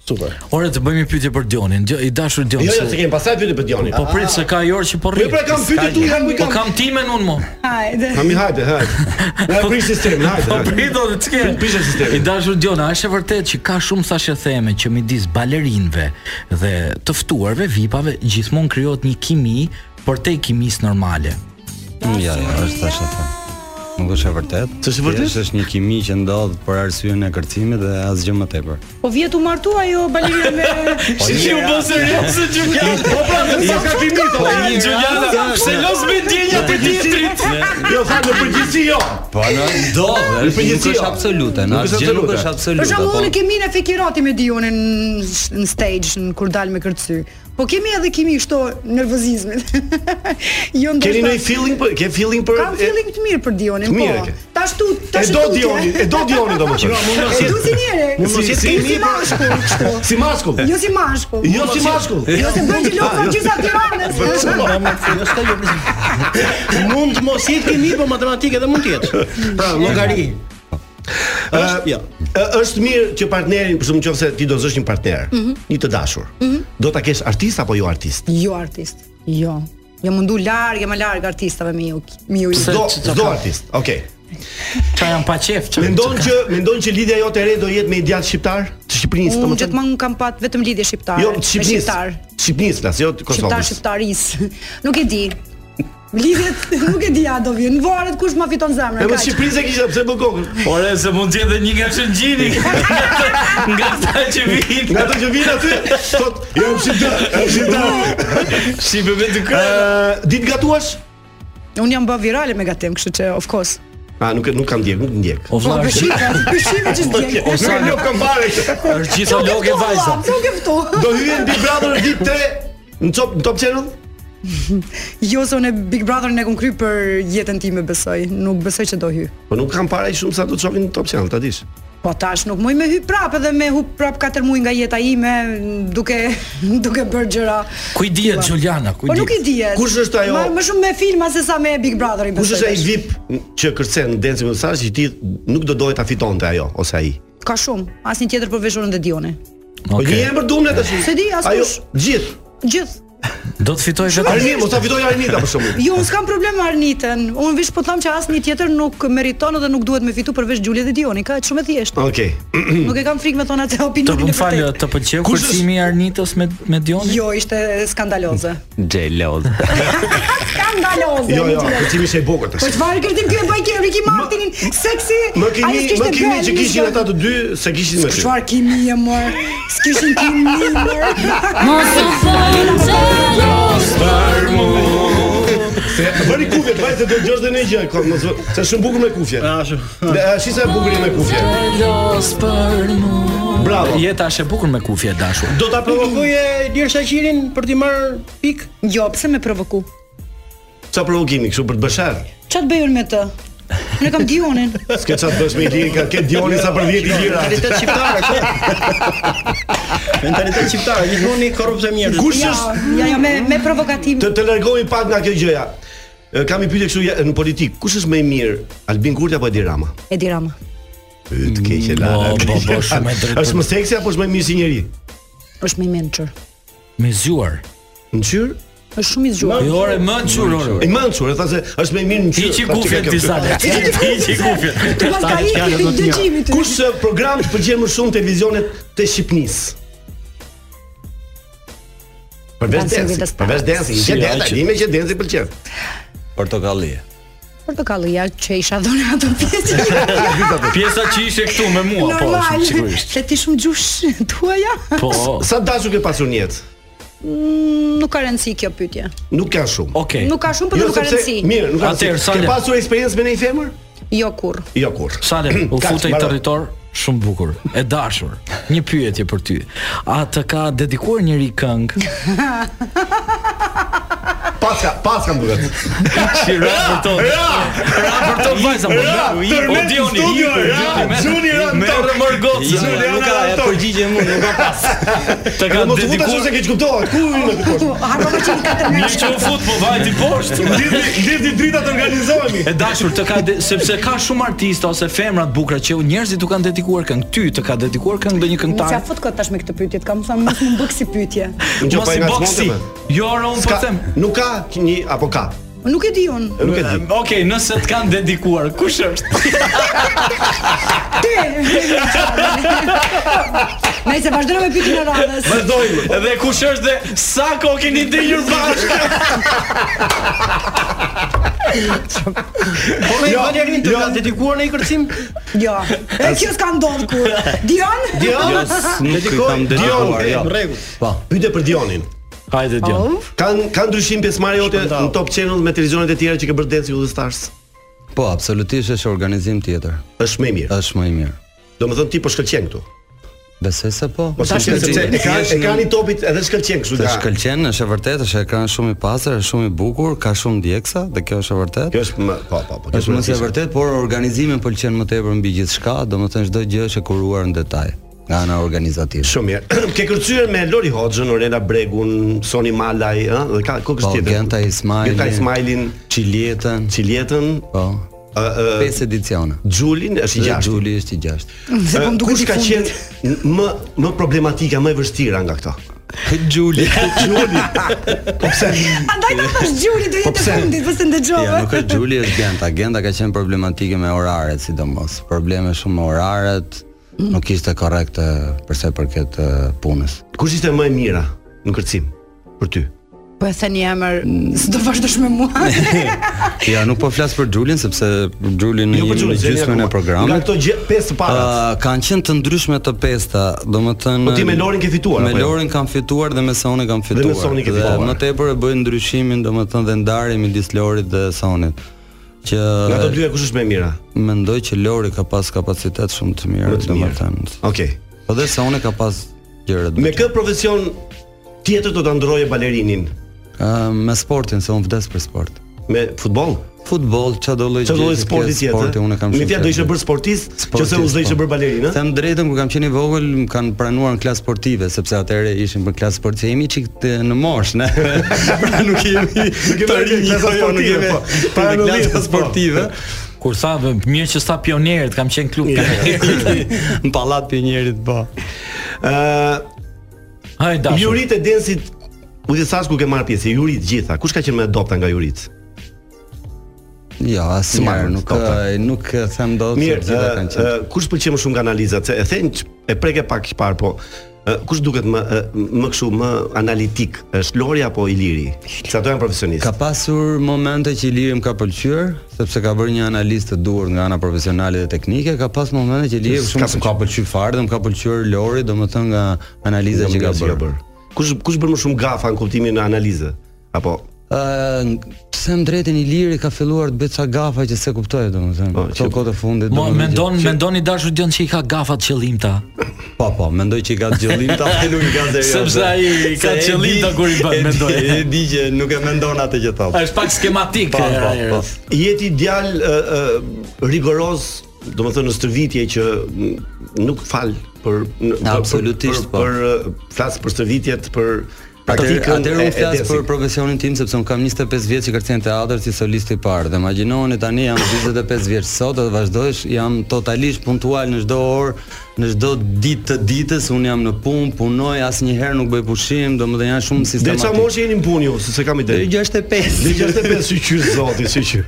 S12: Super.
S7: Ore të bëjmë një pyetje për Dionin, Djo- i dashur Dion.
S4: Jo, jo,
S7: se-
S4: se kemi pastaj pyetje për Dionin.
S7: Po prit se ka jorë që po rri.
S4: Po, pra, kam pyetje tu, ja, ku i
S7: Po
S4: kam?
S7: kam timen unë mo.
S14: Hajde.
S4: Hami hajde, hajde. Na e prish sistemin, hajde.
S7: Po
S4: hajde.
S7: prit do të çke.
S4: Prishe sistemin.
S7: I dashur Diona, është e vërtetë që ka shumë thashë theme që midis balerinëve dhe të ftuarve VIP-ave gjithmonë krijohet një kimi për te kimis normale.
S20: (laughs) Ja, ja, është tash e thënë. Nuk është e vërtet.
S4: S'është e vërtet?
S20: Thjesht është një kimi që ndodh për arsyeën e kërcimit dhe asgjë më tepër.
S14: Po vjet u martu ajo balerina me
S20: Si që u bë serioze,
S12: Gjujana. Po pra, më sa ka kimi po.
S6: Gjujana, pse los me ndjenjat e tjetrit?
S4: Jo, tha në përgjithësi jo.
S20: Po në ndodh, është
S4: Në
S20: nuk
S4: përgjithësi,
S20: është
S4: jo.
S20: absolute,
S4: Nuk
S20: në
S4: është
S20: asgjë nuk është
S4: absolute.
S14: Për
S20: absolute.
S14: shembull,
S20: po.
S14: unë kemi në Fekirati me Dionin në- në stage në kur dal me kërcy. Po kemi edhe kemi kështu nervozizmin. (laughs) jo ndoshta.
S4: Keni ndonjë feeling për ke feeling për
S14: Kam feeling të mirë për Dionin,
S4: Të mirë e
S14: po.
S4: ke.
S14: Tash tu,
S4: E
S14: tash
S4: do
S14: tutje.
S4: Dionin, e do Dionin
S14: Jo,
S4: domethënë.
S14: E du si njëri.
S4: Mund mos jetë
S14: si,
S4: kimi,
S14: si
S4: po.
S14: mashkull, kështu.
S4: Si mashkull.
S14: Jo si mashkull.
S4: Jo si mashkull.
S14: Jo se bën
S8: (laughs)
S14: gjë
S8: Ah,
S14: lokë gjithsa Tiranës.
S12: Po çfarë do të thotë?
S14: (laughs)
S12: Mund të mos jetë kimi, po matematikë edhe mund të jetë. Pra, llogari.
S4: Ë, jo. Ë, Është mirë që partnerin, për shkakun nëse ti do zësh një partner,
S14: Mhm.
S4: një të dashur.
S14: Mhm.
S4: Do ta kesh artist apo jo artist?
S14: Jo artist. Jo. Jam mundu larg, jam larg artistave me ju. Me ju.
S4: Çdo çdo artist. Okej.
S7: Qa janë pa qef? qa-
S4: Mendon
S7: qa-
S4: që mendon që lidhja jote e re do jetë me ideal shqiptar të Shqipërisë,
S14: Unë
S4: domethënë?
S14: gjithmonë kam pat vetëm lidhje shqiptare.
S4: Jo,
S14: me
S4: të Shqipërisë.
S14: shqiptar.
S4: Shqipërisë flas, jo të
S14: Shqiptar
S4: Kosovës.
S14: shqiptaris. Nuk e di. Lidhjet nuk e di a do vjen. Varet kush ma fiton zemrën.
S4: E më
S14: kaq.
S4: Shqipërisë e kisha pse bëkokën.
S6: Ore, se mund t'jetë dhe një nga shëngjini Nga ta që vinë
S4: Nga të që vinë aty, thot, jam shqiptar, jam shqiptar.
S6: (laughs) Shqipe me të kërë
S4: Ë, ditë gatuash?
S14: Unë jam bë virale me gatim, kështu që of course.
S4: A nuk nuk kam ndjek, nuk ndjek.
S6: Oh.
S7: O vlla,
S14: Po,
S7: është
S14: Shqipe,
S4: (laughs)
S14: shqipe që s'djej.
S4: Ose
S7: Ose-
S4: nuk kam fare.
S7: është gjitha loke vajza.
S14: Nuk e fto.
S4: Do hyen Big Brother ditë 3 në Top në Top Channel?
S14: Jo se unë Big Brotherin e kam kry për jetën time besoj. Nuk besoj që do hy.
S4: Po nuk kam fare shumë sa do të shohin në Top Channel, ta dish.
S14: Po tash nuk muj me hy prapë edhe me hu prap 4 muaj nga jeta ime duke (laughs) duke bërë gjëra.
S7: Ku i dihet Juliana, ku i
S14: Po nuk i dihet.
S7: dihet?
S4: Kush është ajo?
S14: Ma- Më shumë me filma se sa me Big Brotherin.
S4: Kush është
S14: besoj
S4: ai
S14: tash.
S4: VIP që kërcen në Dancing with the Stars që ti nuk do doje ta fitonte ajo ose ai?
S14: Ka shumë, asnjë tjetër përveç Orën dhe Dioni.
S4: Po një emër dumne tash.
S14: Se di, as
S4: Ajo
S14: kush.
S4: gjithë.
S14: Gjithë.
S7: Do të fitoj vetëm.
S4: Arni, mos ta fitoj Arnita për
S14: (laughs)
S4: shkakun.
S14: Jo, unë s'kam problem me Arnitën. Unë vish po të them që asnjë tjetër nuk meriton edhe nuk duhet me fitu përveç Gjulit dhe Dioni. Ka shumë e thjeshtë.
S4: Okej.
S14: Nuk e kam frikë me thona atë
S7: Hmm. Të
S14: opinionin
S7: më
S14: e
S7: fal,
S14: vërtetë.
S7: të pëlqeu
S4: Kush
S7: kërcimi i Arnitës me me Dionin?
S14: Jo, ishte skandaloze.
S20: Xhelod.
S14: Ka (laughs) skandaloze.
S4: Jo, jo,
S14: me gjithë.
S4: kërcimi ishte i bukur tash.
S14: Po çfarë kërtim ky e bëj ke Ricky Martinin seksi?
S4: Më
S14: ai
S4: kimi,
S14: s'kishte
S4: më kimi
S14: bërë,
S4: që
S14: nuk
S4: kishin
S14: ishte-
S4: ata të dy se kishin më ty.
S14: Çfarë kimi e mor? S'kishin kimi mor.
S7: (laughs)
S4: Mos u Se bëri kufje, të vajtë do dëgjosh dhe në gjë, kom, mos vë- se shumë bukur me kufje. Ashtu. Ashtu sa e bukur je me kufje. Bravo.
S7: Jeta është e bukur me kufje e dashur.
S4: Do ta
S8: provokoje Lir Shaqirin për t'i marr pik?
S14: Jo, pse më provoku?
S4: Sa provokimi kështu për të bësh erë.
S14: Ç'a të bëj unë me të? Unë e kam Dionin.
S4: S'ke çfarë të bësh me Iliri, ka ke Dioni sa për 10 Ilira.
S8: Mentalitet shqiptar
S14: (laughs)
S8: është. Mentalitet shqiptar, gjithmonë i korrupse mirë.
S4: Kush
S14: Ja,
S4: është?
S14: ja, ja, me me provokatim.
S4: Të të largohemi pak nga kjo gjëja. E, Kam i pyetje kështu ja, në politik, kush është më i mirë, Albin Kurti apo Edi Rama?
S14: Edi Rama.
S4: Yt keq e lana.
S7: Po, po, po, shumë e drejtë.
S4: Është më seksi apo është më i mirë si njerëz?
S14: Është më i mençur.
S7: Me zgjuar.
S4: Ngjyrë?
S14: Është shumë i zgjuar.
S7: Jo, ore, mençur, ore.
S4: I mençur, e tha se është më i mirë në ngjyrë.
S7: Hiqi
S4: Tash
S7: kufjet,
S4: çka kjo?
S7: Tisa, le. Hiqi kufjet.
S14: Tu pas ka i
S4: Fjalët më të mira.
S14: dëgjimit.
S4: Kush eh, program të pëlqen më shumë televizionet të Shqipnisë? Përveç
S14: Dancing with the
S4: Densi,
S14: Stars.
S4: përveç Densi,
S20: Si,
S4: që
S20: ai
S4: Densi,
S20: që-
S4: dime që Densi pëlqen.
S20: Portokalli.
S14: Portokalli ja që isha dhënë ato pjesë.
S7: Pjesa që ishe këtu me mua, po,
S14: Normal.
S7: sigurisht. Po,
S14: Se ti shumë gjush (laughs) tuaja? (laughs)
S4: S- Sa dashu ke pasur në jetë?
S14: Mm, Nuk ka rëndësi kjo pyetje.
S4: Nuk ka shumë.
S7: Okej.
S14: Nuk ka shumë, por
S4: Jo,
S14: Po, nuk ka
S4: sepse-
S14: rëndësi.
S4: Mirë, nuk ka
S7: Atëherë,
S4: rëndësi. Ke
S7: Sale.
S4: pasur eksperiencë me një femër?
S14: Jo kurr.
S4: Jo kurrë.
S7: (clears throat) Sale, u
S4: Kaq,
S7: futej në
S4: mbaroj.
S7: territor shumë bukur, e dashur. Një pyetje për ty. A të ka dedikuar njëri këngë?
S4: Paska, paska më
S7: (laughs)
S4: duket.
S7: (laughs) Si ra për to.
S4: Ra!
S7: Ra për to vajza më.
S4: Ra,
S7: Po
S4: tërmet
S7: Dioni,
S4: në studio,
S7: hiku,
S4: ra,
S7: Dioni, merr-
S4: Gjuni ra në
S7: merr
S4: tokë.
S7: mërgocën.
S4: Jo,
S7: Jo,
S4: Gjuni
S7: nuk
S4: ra
S7: ka-
S4: në
S7: e
S4: tokë.
S7: përgjigje mu, nuk ka pas. Të
S4: Jo,
S7: ka
S4: mos u futa
S7: dedikuar
S4: se ke kuptohet. Ku hyn
S7: (laughs)
S4: aty poshtë?
S14: Harrova që i katër
S7: Mirë që u fut, po vajti poshtë.
S4: Ndërti, ndërti drita të organizohemi.
S7: E dashur të ka de, sepse ka shumë artistë ose femra të bukura që u- njerëzit u kanë dedikuar këngë. Ty të ka dedikuar këngë ndonjë
S14: Mos ja
S7: këngëtar?
S14: fut kot tash me këtë pyetje. Të kam thënë mos më bëk si pyetje.
S4: Unë që
S7: Mos
S4: po e
S7: i
S4: nga
S7: boksi.
S4: zmonte,
S7: Jo, ora un po
S4: Ska-
S7: them.
S4: Nuk ka një apo ka?
S14: Nuk e di unë.
S4: Nuk e di.
S7: Okej, nëse të kanë dedikuar, kush është? (laughs)
S14: Ti. Nëse vazhdojmë me pyetjen e radhës.
S4: Vazhdojmë.
S7: Dhe kush është dhe sa kohë keni ndjenjur bashkë?
S8: (laughs) Po me
S4: Jo,
S8: Valerin të
S4: jo.
S8: ka dedikuar në një kërcim?
S14: Jo. E kjo s'ka ndodhur kur. Dion?
S4: Dion?
S14: Dedikoj.
S20: kam dedikuar, jo.
S4: Dion, rregull. Po. Pyte për Dionin.
S7: Hajde
S14: Dion. Oh.
S4: Kan ka ndryshim pjesëmarrja jote në Top Channel me televizionet e tjera që ke bërë Dance with the Stars?
S20: Po, absolutisht është organizim tjetër.
S4: Është më i mirë.
S20: Është më i mirë.
S4: Domethënë ti po shkëlqen këtu.
S20: Besoj se po.
S4: Po shkëlqen sepse ekrani ekrani topit edhe shkëlqen kështu
S20: Të
S4: nga.
S20: shkëlqen, është e vërtetë, është ekran shumë i pastër, është shumë i bukur, ka shumë ndjeksa dhe kjo është e vërtetë.
S4: Kjo është më po po po.
S20: Është më se vërtet, por organizimi më pëlqen më tepër mbi gjithçka, domethënë çdo gjë është e kuruar në detaj nga ana organizative.
S4: Shumë mirë. (clears throat) Ke kërcyer me Lori Hoxhën, Orela Bregun, Soni Malaj, ëh, dhe ka kokës
S20: Po,
S4: tjetër.
S20: Genta Ismailin,
S4: Genta Ismailin,
S20: Çiljetën,
S4: Çiljetën,
S20: po.
S4: ë
S20: Pesë edicione.
S4: Xhulin është i
S20: Dhe
S4: gjashtë.
S20: Xhuli është i gjashtë.
S14: Se po më duket
S4: Kush
S14: i
S4: ka
S14: fundit.
S4: qenë më më problematika, më e vështira nga këto?
S20: (laughs) Xhuli.
S4: Xhuli. Po pse?
S14: Andaj ta thash Gjuri
S20: Po
S14: do jetë e fundit, pse
S20: Ja,
S14: ndëgjova.
S20: nuk është Xhuli, është Genta. Genta ka qenë problematike me oraret sidomos. Probleme shumë me oraret, nuk ishte korrekte përse përket eh, punës.
S4: Kush ishte më e mira në kërcim për ty?
S14: Po e thënë një emër, s'do vazhdosh me mua.
S20: Ja, nuk po flas për Xhulin sepse Xhuli në
S4: për Xhulin, zëri
S20: gjysmën e
S4: po akoma. Nga
S20: programit
S4: këto gjë pesë të parat.
S20: Uh, kanë qenë të ndryshme të pesta, domethënë
S4: Po ti me Lorin ke fituar,
S20: Me
S4: apo jo?
S20: Lorin kam fituar dhe me Sonin kam fituar.
S4: me Sonin ke fituar.
S20: Dhe më tepër e bëj ndryshimin, domethënë dhe ndarjen midis Lorit dhe Sonit. Që
S4: Nga ato dyja kush është më e mira?
S20: mendoj që Lori ka pas kapacitet shumë të mirë,
S4: Më të mirë.
S20: domethënë.
S4: Okej.
S20: Po dhe Soni ka pas gjëra të
S4: Me kë profesion tjetër do ta ndroje balerinin?
S20: Ë, me sportin se unë vdes për sport.
S4: Me futboll?
S20: Futboll, çfarë do lloj
S4: Çfarë do
S20: gjëje
S4: lloj
S20: që
S4: sporti
S20: ke
S4: tjetër?
S20: Sporti unë e kam
S4: Me
S20: shumë.
S4: fjalë do ishe
S20: qejf.
S4: bërë sportist, qëse
S20: Sportist,
S4: u do ishe
S20: po.
S4: bërë balerinë?
S20: Them drejtën kur kam qenë i vogël më kanë pranuar në klasë sportive sepse atëherë ishim për klasë sportive, jemi çik të- në mosh,
S7: (laughs)
S20: ne. pra nuk jemi
S7: Po,
S4: kemi
S20: të rinj,
S4: klasa
S20: jo, nuk
S4: sportive,
S20: jemi
S4: po. Para
S20: Para
S4: 90-s, po.
S20: klasë sportive.
S7: Kur sa mirë që sa pionerët, kam qenë klub pionerët.
S20: (laughs) Në pallat pionierit po.
S4: Ë,
S7: Haj dashur.
S4: po. jurit e densit u di sash ku ke marr pjesë, jurit gjitha. Kush ka qenë më adopta nga jurit?
S20: Jo, asnjëherë
S4: Njerëz,
S20: nuk uh,
S4: topta.
S20: e, nuk e them dot se
S4: Mirë, uh,
S20: gjitha
S4: ë,
S20: kanë qenë.
S4: ë, kush pëlqen më shumë nga analizat? Se e thënë që- e preke pak i parë, po Ë, Kush duket më ë, më kështu më analitik? Është Lori apo Iliri? Sa do janë profesionistë.
S20: Ka pasur momente që Iliri më ka pëlqyer, sepse ka bërë një analizë të duhur nga ana profesionale dhe teknike, ka pas momente që Iliri
S4: S'ka
S20: shumë s'm ka pëlqyer fare dhe më ka pëlqyer Lori, domethënë nga analiza që ka bërë.
S4: Kush kush bën më shumë gafa në kuptimin e analizë? Apo
S20: Ë, pse më drejtin Iliri ka filluar të bëj ca gafa që se kuptoj domethënë.
S4: Po,
S20: Këto kohë të fundit.
S7: Mo
S20: domethënë
S7: mendon
S20: që-
S7: mendoni dashur Dion se i ka gafat qëllimta.
S20: Po po, mendoj që i ka qëllim ta thelu një gazet.
S7: Sepse ai i ka qëllimta kur i bën, mendoj.
S20: E di që nuk e mendon atë që thon.
S7: Është pak skematik.
S4: Po, po,
S7: e,
S4: po.
S7: e,
S4: Jeti djalë ë, ë, rigoroz, do të thënë në stërvitje që mm, nuk fal për në- për-
S20: Absolutisht, po.
S4: për, për, ë, flas për stërvitjet për
S20: Atëherë
S4: praktikën.
S20: atëherë unë
S4: e- e
S20: flas
S4: desit.
S20: për profesionin tim sepse unë kam 25 vjeç që kërcen teatr si solist i parë dhe imagjinoni tani jam 45 vjeç sot dhe vazhdoj jam totalisht puntual në çdo orë, në çdo ditë të ditës unë jam në punë, punoj, asnjëherë nuk bëj pushim, domethënë janë shumë
S4: Dhe çfarë
S20: sistematik.
S4: moshë jeni në punë ju, se kam ide.
S20: Deri 65.
S4: Dhe 65 syqyr zoti,
S20: (laughs)
S4: syqyr.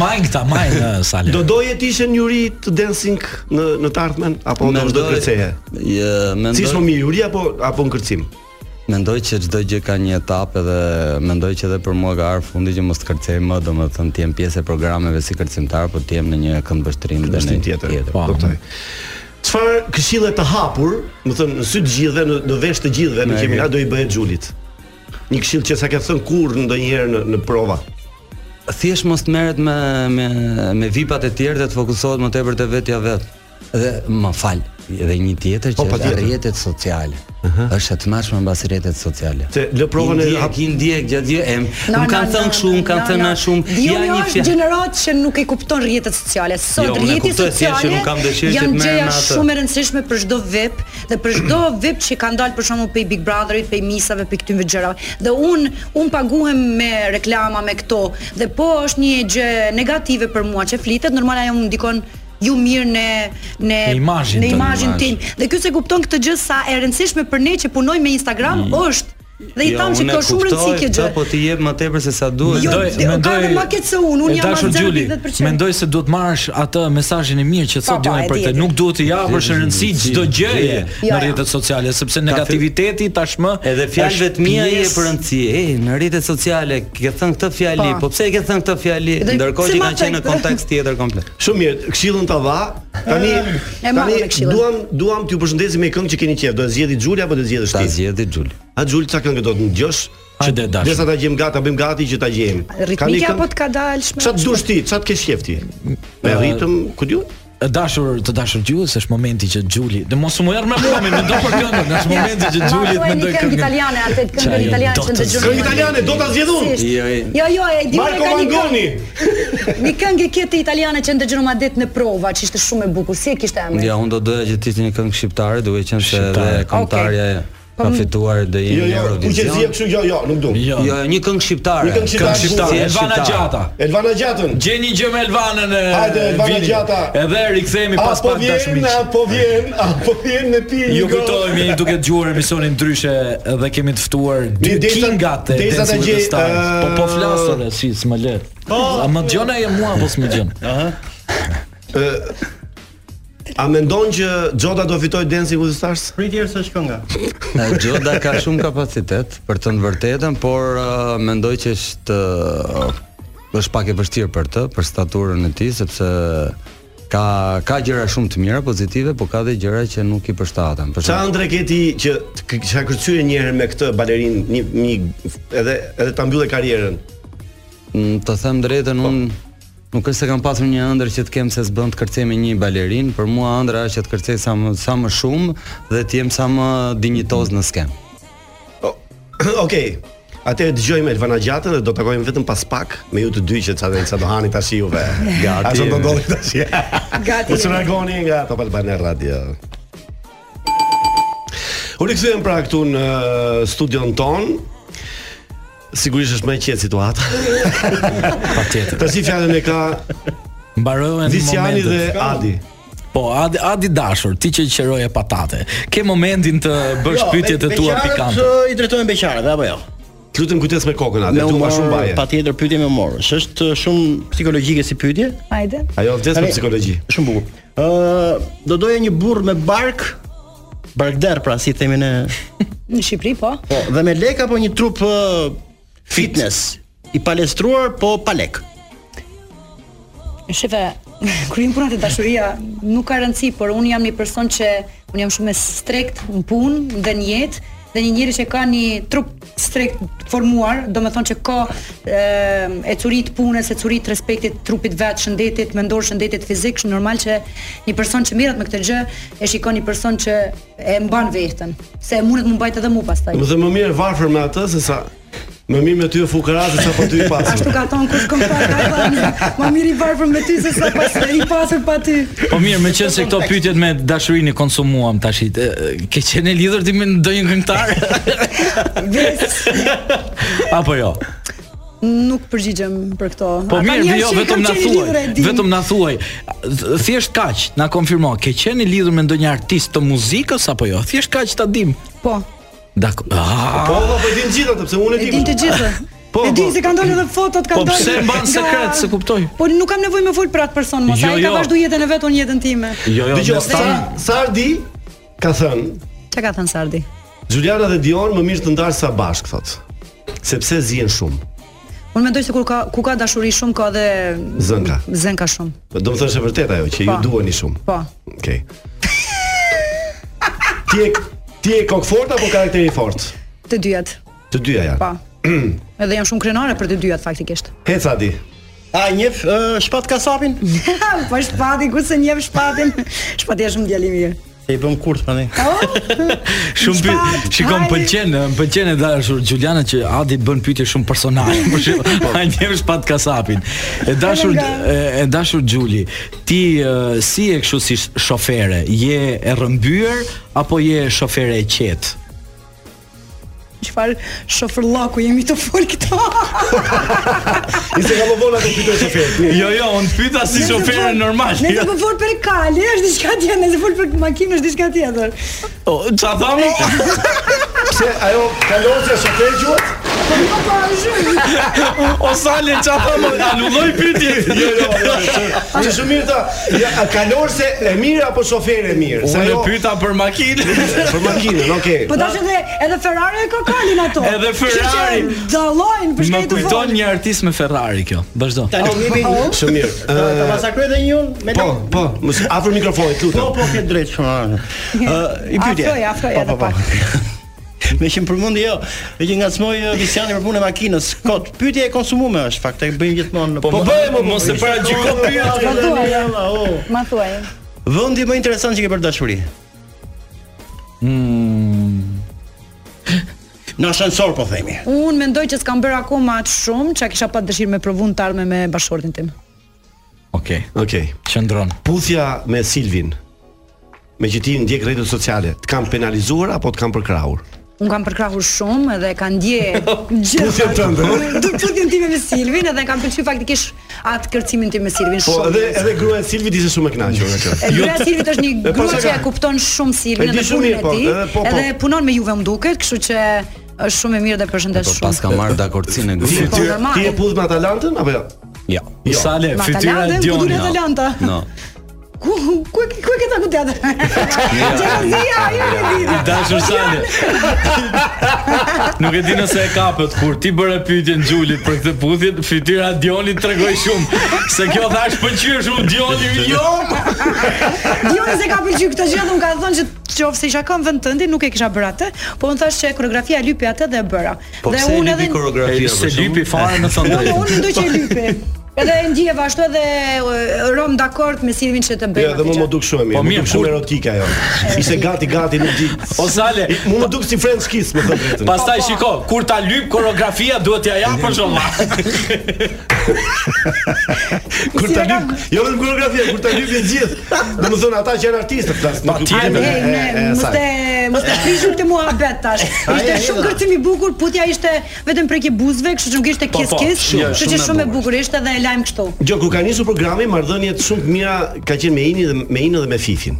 S7: Majnë këta, majnë sale.
S4: Do doje të ishe një uri të dancing në në të ardhmen apo do vazhdo kërceje?
S20: Je, mendoj.
S4: Si është më mirë, uri apo apo në kërcim?
S20: Mendoj që çdo gjë ka një etapë dhe mendoj që edhe për mua ka ardhur fundi që mos të kërcej më, domethënë të jem pjesë e programeve si kërcimtar, po të jem në një këndvështrim dhe në
S4: Këndvështrim tjetër, kuptoj. Çfarë këshille të hapur, më thënë në sy të gjithëve, në, në vesh të gjithëve, në
S20: Ne,
S4: kemi
S20: ne.
S4: na do i bëhet Xhulit. Një këshill që sa ke thënë kur ndonjëherë në, në prova.
S20: Thjesht mos të merret me me me vipat e tjerë dhe të fokusohet më tepër te vetja vet. Dhe më fal, edhe një tjetër që
S4: Po,
S20: është
S4: patjetër.
S20: rrjetet sociale. Është e tmerrshme mbas rrjetet sociale.
S4: Se lë provën e hap-
S20: i ndjek gjatë gjithë em.
S14: No,
S20: Më kanë
S14: no,
S20: thënë
S14: no,
S20: kështu, më kanë
S14: no,
S20: thënë
S14: no.
S20: na shumë.
S14: Dioni
S20: Ja një
S14: jo është
S20: fjalë.
S14: gjenerat që nuk e kupton rrjetet sociale. Sot
S20: Jo, unë e
S14: rrjetet
S20: kuptoj thjesht që
S14: sociale
S20: nuk kam dëshirë që
S14: janë
S20: të merrem
S14: gjëja
S20: me atë.
S14: shumë e rëndësishme për çdo vip dhe për çdo vip që ka dalë për shembull pej Big Brotherit, pej misave, pej këtyve gjërave. Dhe un un paguhem me reklama me këto dhe po është një gjë negative për mua që flitet, normal ajo më ndikon ju mirë në në
S7: Në imazhin
S14: në
S7: tënd.
S14: imazhin tim. Dhe ky se kupton këtë gjë sa e rëndësishme për ne që punojmë me Instagram është Dhe i
S20: Mm. Jo,
S14: tham që
S20: unë e
S14: kjo është shumë rëndësi
S20: kuptoj
S14: kjo gjë.
S20: këtë, Po ti jep më tepër se sa duhet.
S14: Jo,
S20: Mendoj-
S14: dhe-
S20: mendoj-
S14: Ka dhe ma keq se unë, unë
S7: E
S14: jam
S7: dashur
S14: ma zero
S7: Gjuli,
S14: 50%.
S7: mendoj se duhet marrësh atë mesazhin e mirë që
S14: Po, po,
S7: thotë Dioni
S14: e
S7: për
S14: di,
S7: këtë.
S14: e di.
S7: Nuk duhet të japësh
S20: Gjithë,
S7: rëndësi
S20: gjithë,
S7: çdo gjëje
S20: gjithë.
S7: në
S14: Jo, jo.
S7: rrjetet sociale, sepse negativiteti tashmë
S20: Edhe fjalëve të mia i jep rëndësi. E, në rrjetet sociale ke thënë këtë fjali,
S14: Po.
S20: po pse e ke thënë këtë fjali?
S14: Dhe
S20: Ndërkohë
S14: si
S20: që
S14: ma
S20: kanë qenë në
S14: thekte?
S20: kontekst tjetër komplet.
S4: Shumë mirë, këshillën ta dha. Tani
S14: E marrëm
S4: tani
S14: me këshillën.
S4: duam duam t'ju përshëndesim me këngë që keni qejf. Do e zgjidhni Xhuli apo do e zgjedhësh ti? Ta
S20: zgjidhë Xhuli.
S4: A Xhuli çka këngë do të ngjosh?
S7: Hajde dash.
S4: Derisa ta gjejmë gati, ta bëjmë gati që ta gjejmë.
S14: Ritmika apo të ka dalë shme?
S4: Çfarë dush ti? Çfarë të ke qejf ti? Me ritëm, ku diu?
S7: E dashur të dashur gjuhës është momenti që Xhuli, do mos u merr me mua, mendoj për këngën, është momenti që Xhuli të mendoj
S14: këngë
S7: këngën.
S14: italiane, atë
S7: Qa
S14: këngën
S7: jo,
S14: italiane
S7: do
S14: që
S7: të
S14: ndëgjojmë.
S4: Këngë italiane, do ta zgjedh unë.
S20: Jo,
S14: Jo, jo, e di unë
S4: Marco
S14: ka një
S4: Mangoni.
S14: këngë. Një këngë e kete italiane që ndëgjojmë atë ditë në prova, që ishte shumë e bukur. Si e kishte emrin?
S20: Ja, unë do doja që të ishte një këngë shqiptare, duke qenë se edhe
S7: Shqiptare.
S20: kombëtarja
S14: Po,
S20: ka
S14: m-
S20: fituar dhe
S4: Jo,
S20: jemi në
S4: jo, ku që
S20: Eurovision.
S4: zgjidh kështu, jo, jo, nuk duam.
S7: Jo.
S20: Jo, një këngë shqiptare.
S4: Një këngë shqiptare.
S7: Shqiptar,
S20: Thjesht
S7: Elvana
S20: shqiptare.
S7: Gjata.
S4: Elvana Gjatën.
S7: Gjeni gjë me Elvanën e
S4: Hajde, Elvana
S7: vini.
S4: Gjata.
S7: Edhe rikthehemi
S4: A
S7: pas
S4: po
S7: pak
S4: vjen,
S7: dashmiq.
S4: a po
S7: (laughs)
S4: vjen, a po vjen me pi.
S7: Ju
S4: një gol.
S7: kujtojmë jeni duke dëgjuar emisionin ndryshe dhe kemi të ftuar dy
S4: Mi desa-
S7: kingat e Dance
S4: desa ta
S7: with the
S4: gjej, Po.
S7: Stars.
S4: eh,
S7: Po po flasore si s'më lë. A më dëgjon ai mua apo s'më dëgjon?
S4: A mendon që Xhoda do fitoj Dancing with the Stars?
S12: Pritje se shkënga.
S20: E, Gjoda ka shumë kapacitet për të në vërtetën, por uh, mendoj që është uh, është pak e vështirë për të, për staturën e tij, sepse ka ka gjëra shumë të mira, pozitive, por ka dhe gjëra që nuk i përshtaten. Për
S4: Sa ëndre ke ti që t- k- që ka kërcyer një herë me këtë balerin, një, një edhe edhe ta mbyllë karrierën?
S20: Mm, Të them drejtën, unë nuk është se kam pasur një ëndër që të kem se s'bën të kërcej me një balerin, për mua ëndra është që të kërcej sa më sa më shumë dhe të jem sa më dinjitoz në skem.
S4: (clears throat) Okej. Atëherë dëgjojmë Elvana Gjatën dhe do takojmë vetëm pas pak me ju të dy që ça ça do hani tash juve.
S20: Gati.
S4: Ashtu do ndodhi tash.
S14: Gati.
S4: Mos u largoni nga Top Albana Radio. U rikthyem pra këtu në uh, studion ton. Sigurisht është më e qetë situata. (laughs)
S7: Patjetër.
S4: Tash i fjalën e ka
S7: Mbarojmë
S4: Visiani
S7: momentet.
S4: dhe Adi.
S7: Po, Adi, Adi dashur, ti që qeroje patate. Ke momentin të
S4: Jo,
S7: bësh pyetjet e tua pikante.
S12: I drejtojnë beqarëve apo jo?
S4: Të Lutem kujdes me kokën Adi, tu ma shumë baje.
S12: Patjetër pyetje me humor. Është shumë psikologjike si pyetje.
S9: Hajde.
S4: Ajo vdes për
S12: Tani-
S4: psikologji.
S12: Shumë bukur. Ë, do doja një burr me bark
S8: Barkder pra si themin (laughs) e
S14: Në Shqipëri po.
S8: Po, dhe me lek apo një trup uh, fitness i palestruar po pa lek.
S14: Shefe, kur jam punat e dashuria nuk ka rëndësi, por unë jam një person që unë jam shumë e strekt në punë dhe në jetë dhe një njeri që ka një trup strekt formuar, do me thonë që ka e, e curit punës, e curit respektit trupit vetë, shëndetit, mendor shëndetit fizik, është normal që një person që mirët me këtë gjë, e shikon një person që e mban vetën, se mundet më mbajt edhe mu pastaj.
S4: Domethënë më mirë varfër me atë se sa më mirë me ty e fukara se sa po ty i
S14: Ashtu (laughs)
S4: pasur.
S14: ka thonë kush kompar ka thonë, ma mirë i varfër me ty se sa pas i pasur pa ty.
S7: Po mirë, me qenë se këto
S4: (laughs)
S7: pyetjet me dashurinë i konsumuam tash. e, e, Ke qenë e lidhur ti me ndonjë këngëtar?
S4: (laughs)
S7: Apo jo?
S14: Nuk përgjigjem për këto.
S7: Po
S14: Ata
S7: mirë,
S14: njerëz
S7: jo,
S14: që
S7: vetëm
S14: kanë
S7: na
S14: qenë
S7: thuaj.
S14: lidhur e din.
S7: Vetëm na thuaj. Th- Thjesht kaq, na konfirmo, ke qenë i lidhur me ndonjë artist të muzikës apo jo? Thjesht kaq ta dim.
S14: Po.
S7: Dakor. Ah.
S4: Po, po, po e din gjithë atë, pse unë e
S14: E
S4: di.
S14: din të gjithë.
S4: Po,
S14: e
S4: po.
S14: din se kanë dalë edhe fotot, kanë
S4: Po,
S14: dalë.
S4: pse mban
S14: nga-
S4: sekret, se
S7: kuptoj.
S14: Po nuk kam nevojë me fol për atë person, mos
S4: Jo,
S14: ai ka
S4: jo.
S14: vazhdu jetën e vet, unë jetën time.
S4: Jo, jo,
S14: Dhe-
S4: Dgjoj, Sar- Sardi ka thënë,
S14: Çka ka thënë Sardi?
S4: Juliana dhe Dion më mirë të ndarë sa bashk, thotë. Sepse zihen shumë.
S14: Unë mendoj se kur ka ku ka dashuri shumë ka dhe
S4: Zën ka.
S14: zën ka shumë.
S4: Do të thënë është e vërtet ajo që ju
S14: Po.
S4: duheni shumë.
S14: Po.
S4: Okej. Ti je ti je kokfort apo karakteri i fortë?
S14: Të dyjat.
S4: Të dyja janë.
S14: Po. Edhe jam shumë krenare për të dyjat faktikisht.
S4: Heca di.
S8: A njef uh, shpat kasapin?
S14: po shpati ku se njeh shpatin. (laughs) Oh. Shpati është shumë djalë i mirë.
S8: Se i bëm kurt
S4: pra
S8: tani.
S4: (laughs)
S7: Shumë pyetje. Shikoj, më pëlqen, më pëlqen e dashur Juliana që Adi bën pyetje shumë personale. (laughs) po Për shembull, ai njësh pat kasapin. E dashur e, e dashur Gjuli, ti e, si je kështu si sh- shofere? Je e rëmbyer apo je shofere e qetë?
S14: Çfarë shofërllaku jemi të fol këto?
S4: Ishte ka më vonë atë pyetën shoferin.
S7: Jo, jo, unë pyeta si
S14: Nëse
S7: shofere
S14: fol-
S7: normal.
S4: jo.
S14: Nëse po fol për kali, është diçka tjetër, nëse fol për makinë është diçka
S4: (laughs)
S14: tjetër.
S7: O, çfarë thamë?
S4: Pse ajo kalosja shofer gjuat?
S14: Po nuk po zhë.
S7: O sale çfarë thamë? Anulloj pyetjen.
S4: Jo, jo, jo. shumë- Është shumë mirë ta. Ja, a kalorse e mirë apo shofer e mirë?
S7: Unë e pyeta për makinën.
S4: Për (laughs) makinën, okay.
S14: Po tash edhe edhe Ferrari e ka kalin ato.
S7: Edhe Ferrari.
S14: Kështu që Dallojnë për
S7: Më
S14: shkak të
S7: kujton
S14: vonë.
S7: një artist me Ferrari kjo. Vazhdo.
S8: Tani jemi
S4: Shumë mirë.
S8: Ta
S4: Ë,
S8: masakroj edhe një unë me
S4: Po,
S8: lek.
S4: po, mos afër mikrofonit, lutem.
S8: Po, po, ke drejt shumë. Ë, i pyetje.
S14: Afroj, afroj
S8: Po,
S14: edhe
S8: po, po. (laughs) Me që më përmendi jo, me që ngacmoj ë, Visiani për punë e makinës. Kot, pyetja e konsumume është fakt, e bëjmë po, gjithmonë.
S7: Po, bëjmë, mos e paragjyko pyetjen.
S8: po,
S14: Ma thuaj.
S8: Vendi më interesant që ke për dashuri.
S7: Mm.
S8: Në ascensor po themi.
S14: Unë mendoj që s'kam bërë akoma atë shumë, çka kisha pas dëshirë me provu në të ardhmen me bashortin tim.
S7: Okej.
S4: Okej.
S7: Qëndron.
S4: Puthja me Silvin. Me që ti ndjek rrjetet sociale, të kam penalizuar apo të kam përkrahur?
S14: Unë kam përkrahur shumë edhe ka ndje
S4: (laughs) Puthjen tënde.
S14: Do putjen time me Silvin edhe kam pëlqyer faktikisht atë kërcimin tim me Silvin
S4: Po,
S14: shumë.
S4: edhe edhe gruaja e Silvit ishte shumë e Jo, kënaqur
S14: E
S4: me këtë.
S14: gruaja e Silvit është një
S4: E, po,
S14: grua
S4: se
S14: që e
S4: ka.
S14: kupton shumë
S4: E
S14: Silvin
S4: di
S14: edhe
S4: shumë
S14: punën
S4: mirë,
S14: e
S4: po,
S14: tij,
S4: edhe po, po.
S14: edhe punon me Juve më duket, kështu që është shumë e mirë dhe përshëndes shumë.
S20: Po, Pas ka marrë dakordsinë e
S4: Ti
S20: grupit.
S4: ti-
S14: po, normal.
S4: ti e pudh me Atalantën apo jo?
S20: Jo.
S4: Jo.
S7: Sale,
S14: Ma
S7: fytyra
S14: Atalanta,
S7: e
S14: ku
S7: Dionit.
S14: duhet Atalanta?
S20: No.
S14: Ku ku ku e ke ta ku teatër? Xhelozia, jo e di.
S7: I (laughs) dashur Sale. Nuk e di nëse e kapët kur ti bëre pyetjen Xhulit për këtë puthje, fytyra e Dionit tregoi shumë se kjo thash pëlqyer shumë Dioni. Jo.
S14: Dioni se ka pëlqyer këtë gjë, dhe unë ka thënë që qofse isha kam vend tënde, nuk e kisha bërë atë, po unë thash që koreografia e lypi atë dhe e bëra.
S20: Po
S14: dhe
S20: pse e lypi
S7: E,
S20: koreografia
S7: Se lypi fare në
S20: (laughs)
S7: thënë
S20: Jo.
S14: Po unë
S7: drejtë.
S14: mendoj që e lypi. Edhe e ndjeva ashtu edhe e, rom dakord me Silvin që të bëjë.
S4: Jo, dhe
S14: atë
S4: më
S14: gjë.
S4: më duk shumë e mirë.
S7: Po,
S4: Po
S7: mirë,
S4: mirë, shumë
S7: kur-
S4: erotike ajo. Ishte gati gati nuk
S7: (laughs)
S4: di.
S7: O Sale,
S4: I- Mu më duk si French kiss, më thënë drejtën.
S7: pastaj shiko, kur ta lyp koreografia duhet t'ja
S20: (laughs)
S7: jap për shoma.
S4: kur
S14: si
S4: ta
S14: e
S4: lyp, jo vetëm koreografia, kur ta lypin gjithë. Domethënë ata që janë artistë flas.
S7: Po,
S4: nuk lypin.
S14: Ai,
S4: E, e,
S14: ne,
S4: e, e,
S14: mos
S4: saj.
S14: të mos të prishur këtë muhabet tash. Ishte
S8: ai,
S14: shumë
S8: ai,
S14: kërcim i bukur, putja ishte vetëm prekje buzëve, kështu që nuk ishte kis
S7: po,
S14: kis,
S7: shumë,
S14: kështu
S7: shumë
S14: që
S7: e
S14: shumë e bukur ishte dhe e lajm kështu.
S4: Gjo, kur ka nisur programi, marrëdhëniet shumë të mira ka qenë me Inin dhe me Inin dhe me Fifin.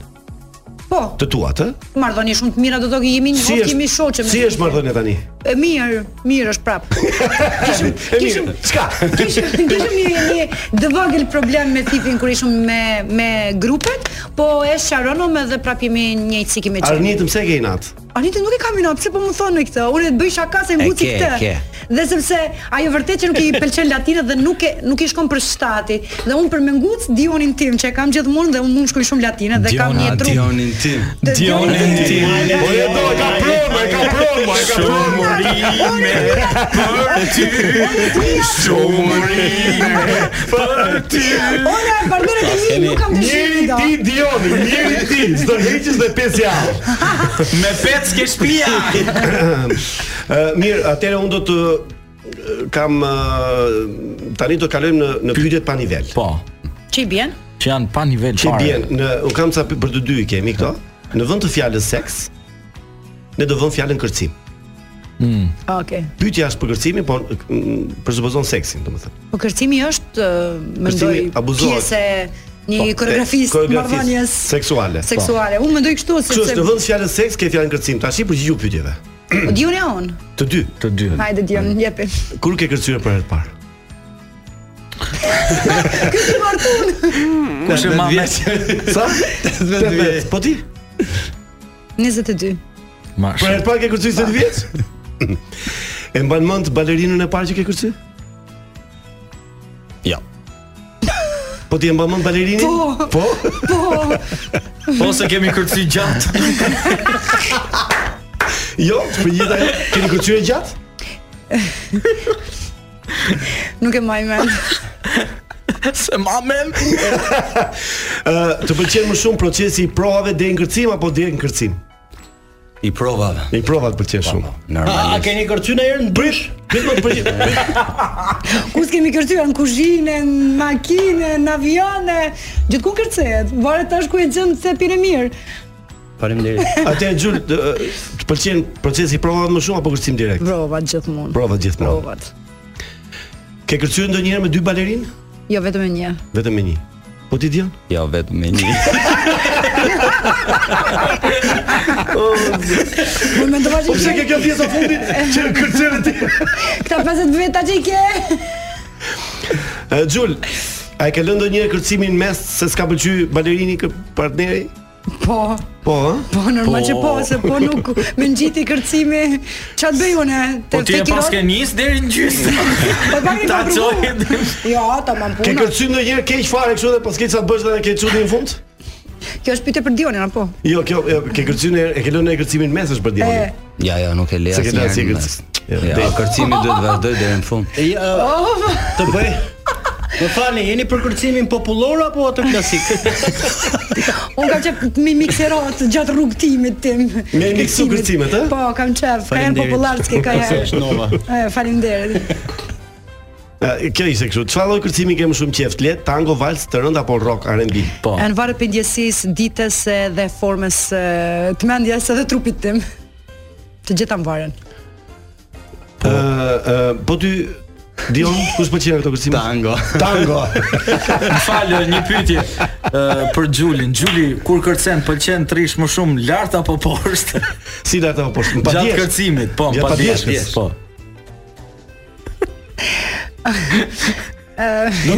S14: Po, Po.
S4: Të tuat, ë?
S14: Marrëdhënie shumë të mira do të thotë jemi një
S4: Si
S14: hof,
S4: është-
S14: jemi shoqe me.
S4: Si është marrëdhënia tani?
S14: E mirë, mirë është prap.
S4: (laughs)
S14: Kishim kishim
S4: çka?
S14: Kishim kishim një një dëvogël problem me tipin kur ishim me me grupet, po e sharonëm edhe prap jemi një ciki me çfarë.
S4: Arnitëm se ke inat.
S14: Anita nuk e kam inat, pse po më thonë këtë? Unë e bëj shaka se
S4: E
S14: mbuci
S4: ke,
S14: këtë.
S4: ke.
S14: Dhe sepse ajo vërtet që nuk i pëlqen latinat dhe nuk e nuk i shkon për shtati. Dhe unë për me nguc dionin tim që e kam gjithmonë dhe unë mund shkoj shumë latinat dhe kam një trup.
S20: Dionin tim.
S14: Dionin tim.
S12: Po e do, e ka pronë, e ka pronë, e ka pronë. Për ty, shumë urime për ty.
S14: Ora, partnerët e mi nuk kam dëshirë.
S12: Njeri ti, Dioni, njeri ti, s'do heqës dhe pesë javë.
S6: (laughs) Me pec ke shpia.
S4: (clears throat) Ë, mirë, atëherë unë do të ë, kam ë, tani do të kalojmë në në pyetjet pa nivel. Po.
S14: Çi bjen?
S4: Që janë pa nivel Që
S7: fare.
S4: bien, në u kam ca py- për të dy i kemi këto. Në vend të fjalës seks, ne do vëmë fjalën kërcim.
S7: Mm.
S14: Okej.
S4: Pyetja është për kërcimin, po mm, përsupozon seksin, domethënë.
S14: Po kërcimi është ë, mendoj
S4: Kërcimi abuzohet.
S14: pjesë e
S4: Po,
S14: një
S4: e,
S14: koreografisë
S4: koreografisë
S14: marrëdhënies
S4: seksuale. Po.
S14: Seksuale. Unë mendoj kështu
S4: Kështu është në
S14: sepse
S4: vend të fjalës seks ke fjalën kërcim. Tash i përgjigju pyetjeve.
S14: Dioni on.
S4: Të dy, të dy.
S14: Hajde Dion, jepi.
S4: Kur ke kërcyer për herë të parë?
S14: Ky është martun.
S6: Kush e
S4: Tetë
S6: ma me-
S4: vjeç. Sa? 18 vjeç. Po ti?
S14: 22.
S4: Për herë të parë ke kërcyer 18 vjeç? (laughs) E mban mend balerinën e parë që ke kërcyer? Jo. Po ti e mban mend balerinin?
S14: Po.
S4: Po.
S14: Po.
S4: (laughs)
S6: Po se kemi kërcy gjatë.
S4: Jo, për gjitha keni kërcyer gjatë?
S14: Nuk e maj mend.
S4: Se mamen. Ë, të pëlqen më shumë procesi i provave deri në kërcim apo deri në kërcim? I provave. Po, I provave të pëlqen shumë.
S8: A, a keni kërcy në herë në dysh?
S4: Prit më prit.
S14: Ku s'kemi kërcyer në kuzhinë, në makinë, në avione, gjithku kërcehet. Varet tash ku e gjen se pire mirë.
S4: Faleminderit. (laughs) Atë Xhul, të të pëlqen procesi i provave më shumë apo kërcim direkt?
S14: Provat gjithmonë.
S4: Provat gjithmonë.
S14: Provat.
S4: Ke kërcyer ndonjëherë me dy balerinë?
S14: Jo vetëm e një.
S4: Vetëm me një. Po ti dion? Jo, vetëm me një.
S14: Unë mendova që
S12: Po pse ke kjo pjesë e
S4: (laughs)
S12: fundit që kërcyer ti?
S14: Këta 50 veta që i ke.
S4: Xhul, a e ke lënë ndonjëherë kërcimin mes se s'ka pëlqyer balerini kë partneri?
S14: Po.
S4: Po, ëh?
S14: Po normal që po, se po nuk me ngjiti kërcimi. Ç'a të bëj unë?
S6: Po ti e
S14: Kirot?
S6: paske nis deri në gjysmë.
S14: Po pak e
S6: Ta
S14: kam provu. Jo, tamam
S4: Ke
S14: puna.
S4: kërcyer ndonjëherë keq fare kështu dhe pas keq sa të bësh dhe ke çudi në fund?
S14: Kjo është pyetje për Dionin apo?
S4: Jo, kjo e, ke kërcyer ndonjëherë- e ke lënë në kërcimin mes është për
S14: E.
S4: dion.
S20: Ja, ja, nuk e le
S4: Se ke lënë
S20: asnjëherë
S4: si
S20: në
S4: kërc.
S20: mes.
S4: Jo,
S20: Ja,
S4: dej.
S20: kërcimi duhet vazhdoj deri në fund.
S8: E, uh, të bëj. Më falni, jeni për kërcimin popullor apo atë klasik?
S14: Unë kam qef mi mikserot gjatë rrugtimit tim.
S8: Me miksu eh? kërcimet,
S4: ë?
S14: Po, kam qef. Ka janë
S4: Faleminderit.
S14: popullar s'ke ka
S4: Ose
S14: janë.
S4: (laughs) është nova.
S14: E, faleminderit.
S4: E, Kjo ishte kështu. Çfarë lloj kërcimi ke më shumë qejf? Let, tango, vals, të rënd apo rock, R&B? Po.
S14: Janë varet për ndjesisë, ditës e, dhe formës e, të mendjes edhe trupit tim. Të gjitha më varen.
S4: Po, po ty Dion, kush pëlqen këto kërcime? Tango. Tango.
S6: Më falë një pyetje
S7: eh,
S6: ë, për Xhulin. Xhuli kur kërcen pëlqen trish më shumë lart apo
S7: po? (laughs)
S6: poshtë?
S4: Si po, lart apo poshtë?
S6: Pa
S4: Gjatë
S6: Gjatë kërcimit, po,
S4: Gjatë
S6: pa
S4: padjeshkës.
S6: dijes, po.
S4: Do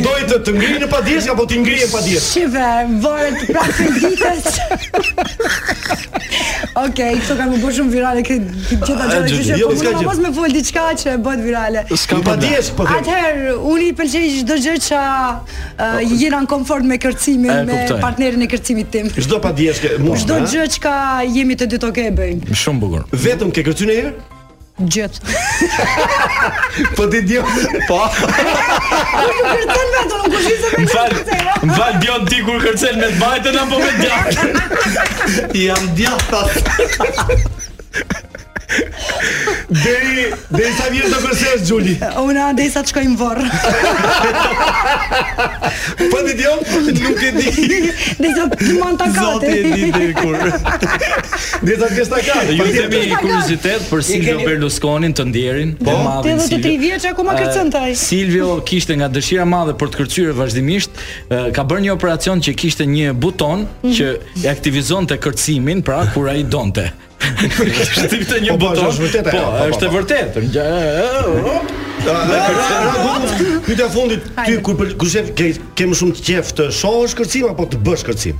S4: ndoj të të ngrihen në padjes apo ti ngrihen padjes?
S14: Shive, varet prapë për (laughs) ditës. Okej, këto kanë më bërë shumë virale këtë këtë gjitha
S4: A,
S14: gjëra
S4: gjë-
S14: që shë
S4: jo,
S14: po
S4: s'ka
S14: mund
S4: gjë.
S14: mos me fol diçka që e bëhet virale.
S4: S'ka problem. Padjes, po them.
S14: Atëherë unë i pëlqej çdo gjë që uh, jena në komfort me
S4: Po, E,
S14: kërcimin, me
S4: kuptoj.
S14: partnerin e kërcimit tim.
S4: Çdo padjes ke mund.
S14: Çdo gjë që ka jemi të dy tokë e bëjmë.
S4: Shumë bukur. Vetëm ke kërcyer një herë?
S14: Gjët.
S4: (laughs) Po ti Dion. Po.
S14: (laughs) Unë nuk kërcen vetëm, unë kushizem me
S6: Më fal, më fal Dion ti kur kërcen me të bajtën apo me djathtë? Jam djathtë.
S4: Deri deri sa vjen të kërcesh Xhuli.
S14: Unë andej sa të shkoj në varr.
S4: Po ti Dion, nuk e di.
S14: Dhe sa të mund ta kate.
S4: Zoti e di deri kur. Disa gjesta ka.
S7: Ju kemi
S4: Patjetër.
S7: kuriozitet për Silvio Berlusconin të ndjerin, po
S21: Po,
S7: madhin
S21: 83
S7: Silvio.
S21: vjeç, akoma
S7: Eh,
S21: kërcën taj.
S7: Silvio kishte nga dëshira e madhe për të kërcyer vazhdimisht, eh, ka bërë një operacion që kishte një
S20: Po,
S7: buton që e aktivizonte kërcimin, pra kur ai donte. Kishte këtë një
S4: Po, po,
S7: buton.
S4: është vërtet
S7: Po,
S4: ajo, po, po,
S7: është e
S4: po.
S7: vërtetë. Ngja-
S4: Pyetja e fundit, ty kur pël- kur shef ke ke më shumë të qejf të shohësh kërcim apo të bësh kërcim?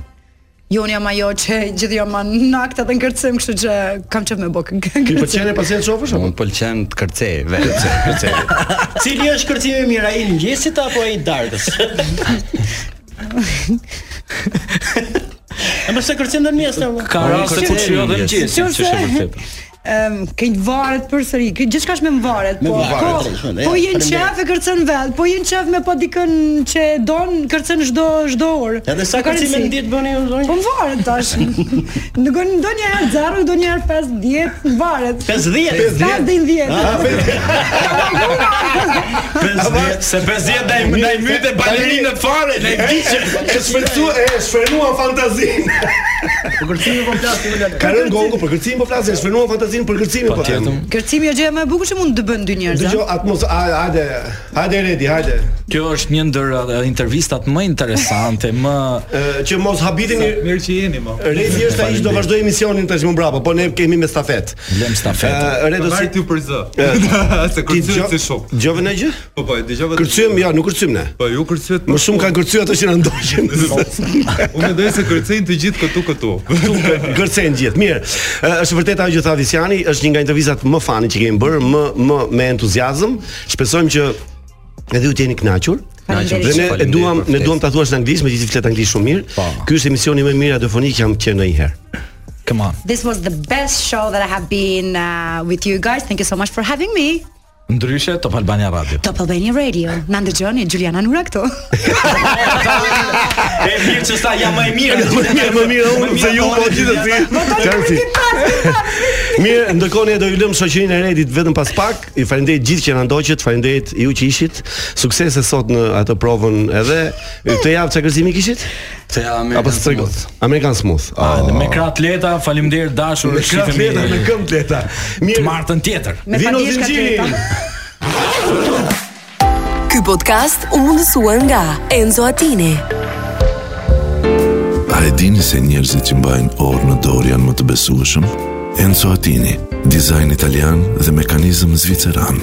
S14: Jon Jo, jam ajo që gjithë jam në akta dhe në kërcim, kështu që kam qef me bokë.
S4: Ti pëlqen e pastaj të shofësh apo?
S22: Unë pëlqen të kërcej
S4: (laughs)
S22: vetë.
S4: Kërcej.
S8: Cili është kërcimi i mirë, ai i ngjesit apo ai i darkës? E mos e kërcen në mjes apo?
S7: Ka raste kur shio jo dhe mëngjesin, që është e vërtetë.
S14: Ëm, ke një varet përsëri. Kë gjithçka është me më varet,
S7: Me
S14: po.
S7: më varet,
S14: Po,
S7: shumë,
S14: po
S7: ja,
S14: jeni
S7: faleminderit.
S14: qef e kërcën vet, po jeni qef me po dikën që e don, kërcen çdo çdo orë.
S8: Edhe sa
S14: Nuk ka
S8: kërcime
S14: rëndësi.
S8: në ditë bëni ju zonjë?
S14: Po më varet
S7: (laughs)
S14: tash. Nuk ndonjëherë 0, ndonjëherë 5, 10, më varet.
S8: 50?
S14: 50 deri në 10.
S8: Ah,
S14: (laughs)
S4: (laughs)
S7: 50 se 50 ndaj ndaj mytë balerinë fare, ndaj diçë.
S4: E shfrytzu e shfrenuan fantazinë. Për kërcimin po flasim Lala. Ka rënë gongu për kërcimin po flasim, e shfrenuan fantazinë për kërcimin po. Patjetër.
S14: Kërcimi është gjëja më e bukur që mund të bën dy njerëz. a?
S4: Dëgjoj atmos, a- hajde, hajde redi, hajde.
S7: Kjo është një ndër eh, intervistat më interesante, më
S4: që mos habiteni
S7: mirë që jeni mo.
S4: Redi është ai që do (laughs) vazhdoj emisionin tash më brapa, po ne kemi me stafet.
S7: Lëm stafetën.
S4: Ë, Redo si
S6: ty për zë. (laughs) Se
S4: Ti
S6: kërcyet
S4: gjo-
S6: si shok.
S4: Gjove në gjë?
S6: Po po, e dëgjova.
S4: Kërcym, ja, nuk kërcym ne.
S6: Po ju kërcyet.
S4: Më shumë kanë kërcyer ato që na ndoqën.
S6: Unë mendoj se kërcejnë të gjithë këtu këtu.
S4: Këtu kë- kërcejnë gjithë. Mirë. Ë, Është vërtet ajo që tha Visiani, është një nga intervistat më fani që kemi bërë, më më me entuziazëm. Shpresojmë që edhe ju të jeni kënaqur.
S23: Faleminderit.
S4: Dhe ne e
S23: Faleminderit
S4: duam
S23: për
S4: ne
S23: ftesën.
S4: duam ta thuash në anglisht, megjithëse ti flet anglisht shumë mirë. Ky është emisioni më i mirë radiofonik që jam qenë ndonjëherë.
S7: Come on.
S14: This was the best show that I have been uh, with you guys. Thank you so much for having me.
S7: Ndryshe Top Albania Radio.
S14: Top Albania Radio. Na ndëgjoni Juliana Nura këtu.
S7: E mirë që sa jam më i mirë.
S4: Më mirë, më mirë unë se ju po gjithësi. Qartë. Mirë, ndërkohë ne do ju lëm shoqërinë e Redit vetëm pas pak. Ju falenderoj gjithë që na ndoqët, falenderoj ju që ishit. Suksese sot në atë provën edhe këtë javë çka gëzimi kishit?
S22: Te
S4: Apo
S22: American
S4: Smooth.
S22: Smooth.
S4: American Smooth.
S7: Ah, dhe me krah leta, faleminderit dashur.
S4: Me krah
S7: shifemi
S4: leta, me këmbë leta.
S7: Mirë. Të martën tjetër.
S1: Me
S4: Vino
S1: padijeshka
S4: zinxhiri.
S1: Ky podcast u mundësua nga Enzo Attini.
S2: A e dini se njerëzit që mbajnë orë në dorë janë më të besueshëm? Enzo Attini, dizajn italian dhe mekanizëm zviceran.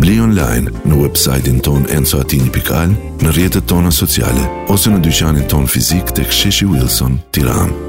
S2: Bli online në websajtin ton enzoatini.al, në rjetët tona sociale, ose në dyqanin ton fizik të ksheshi Wilson, tiranë.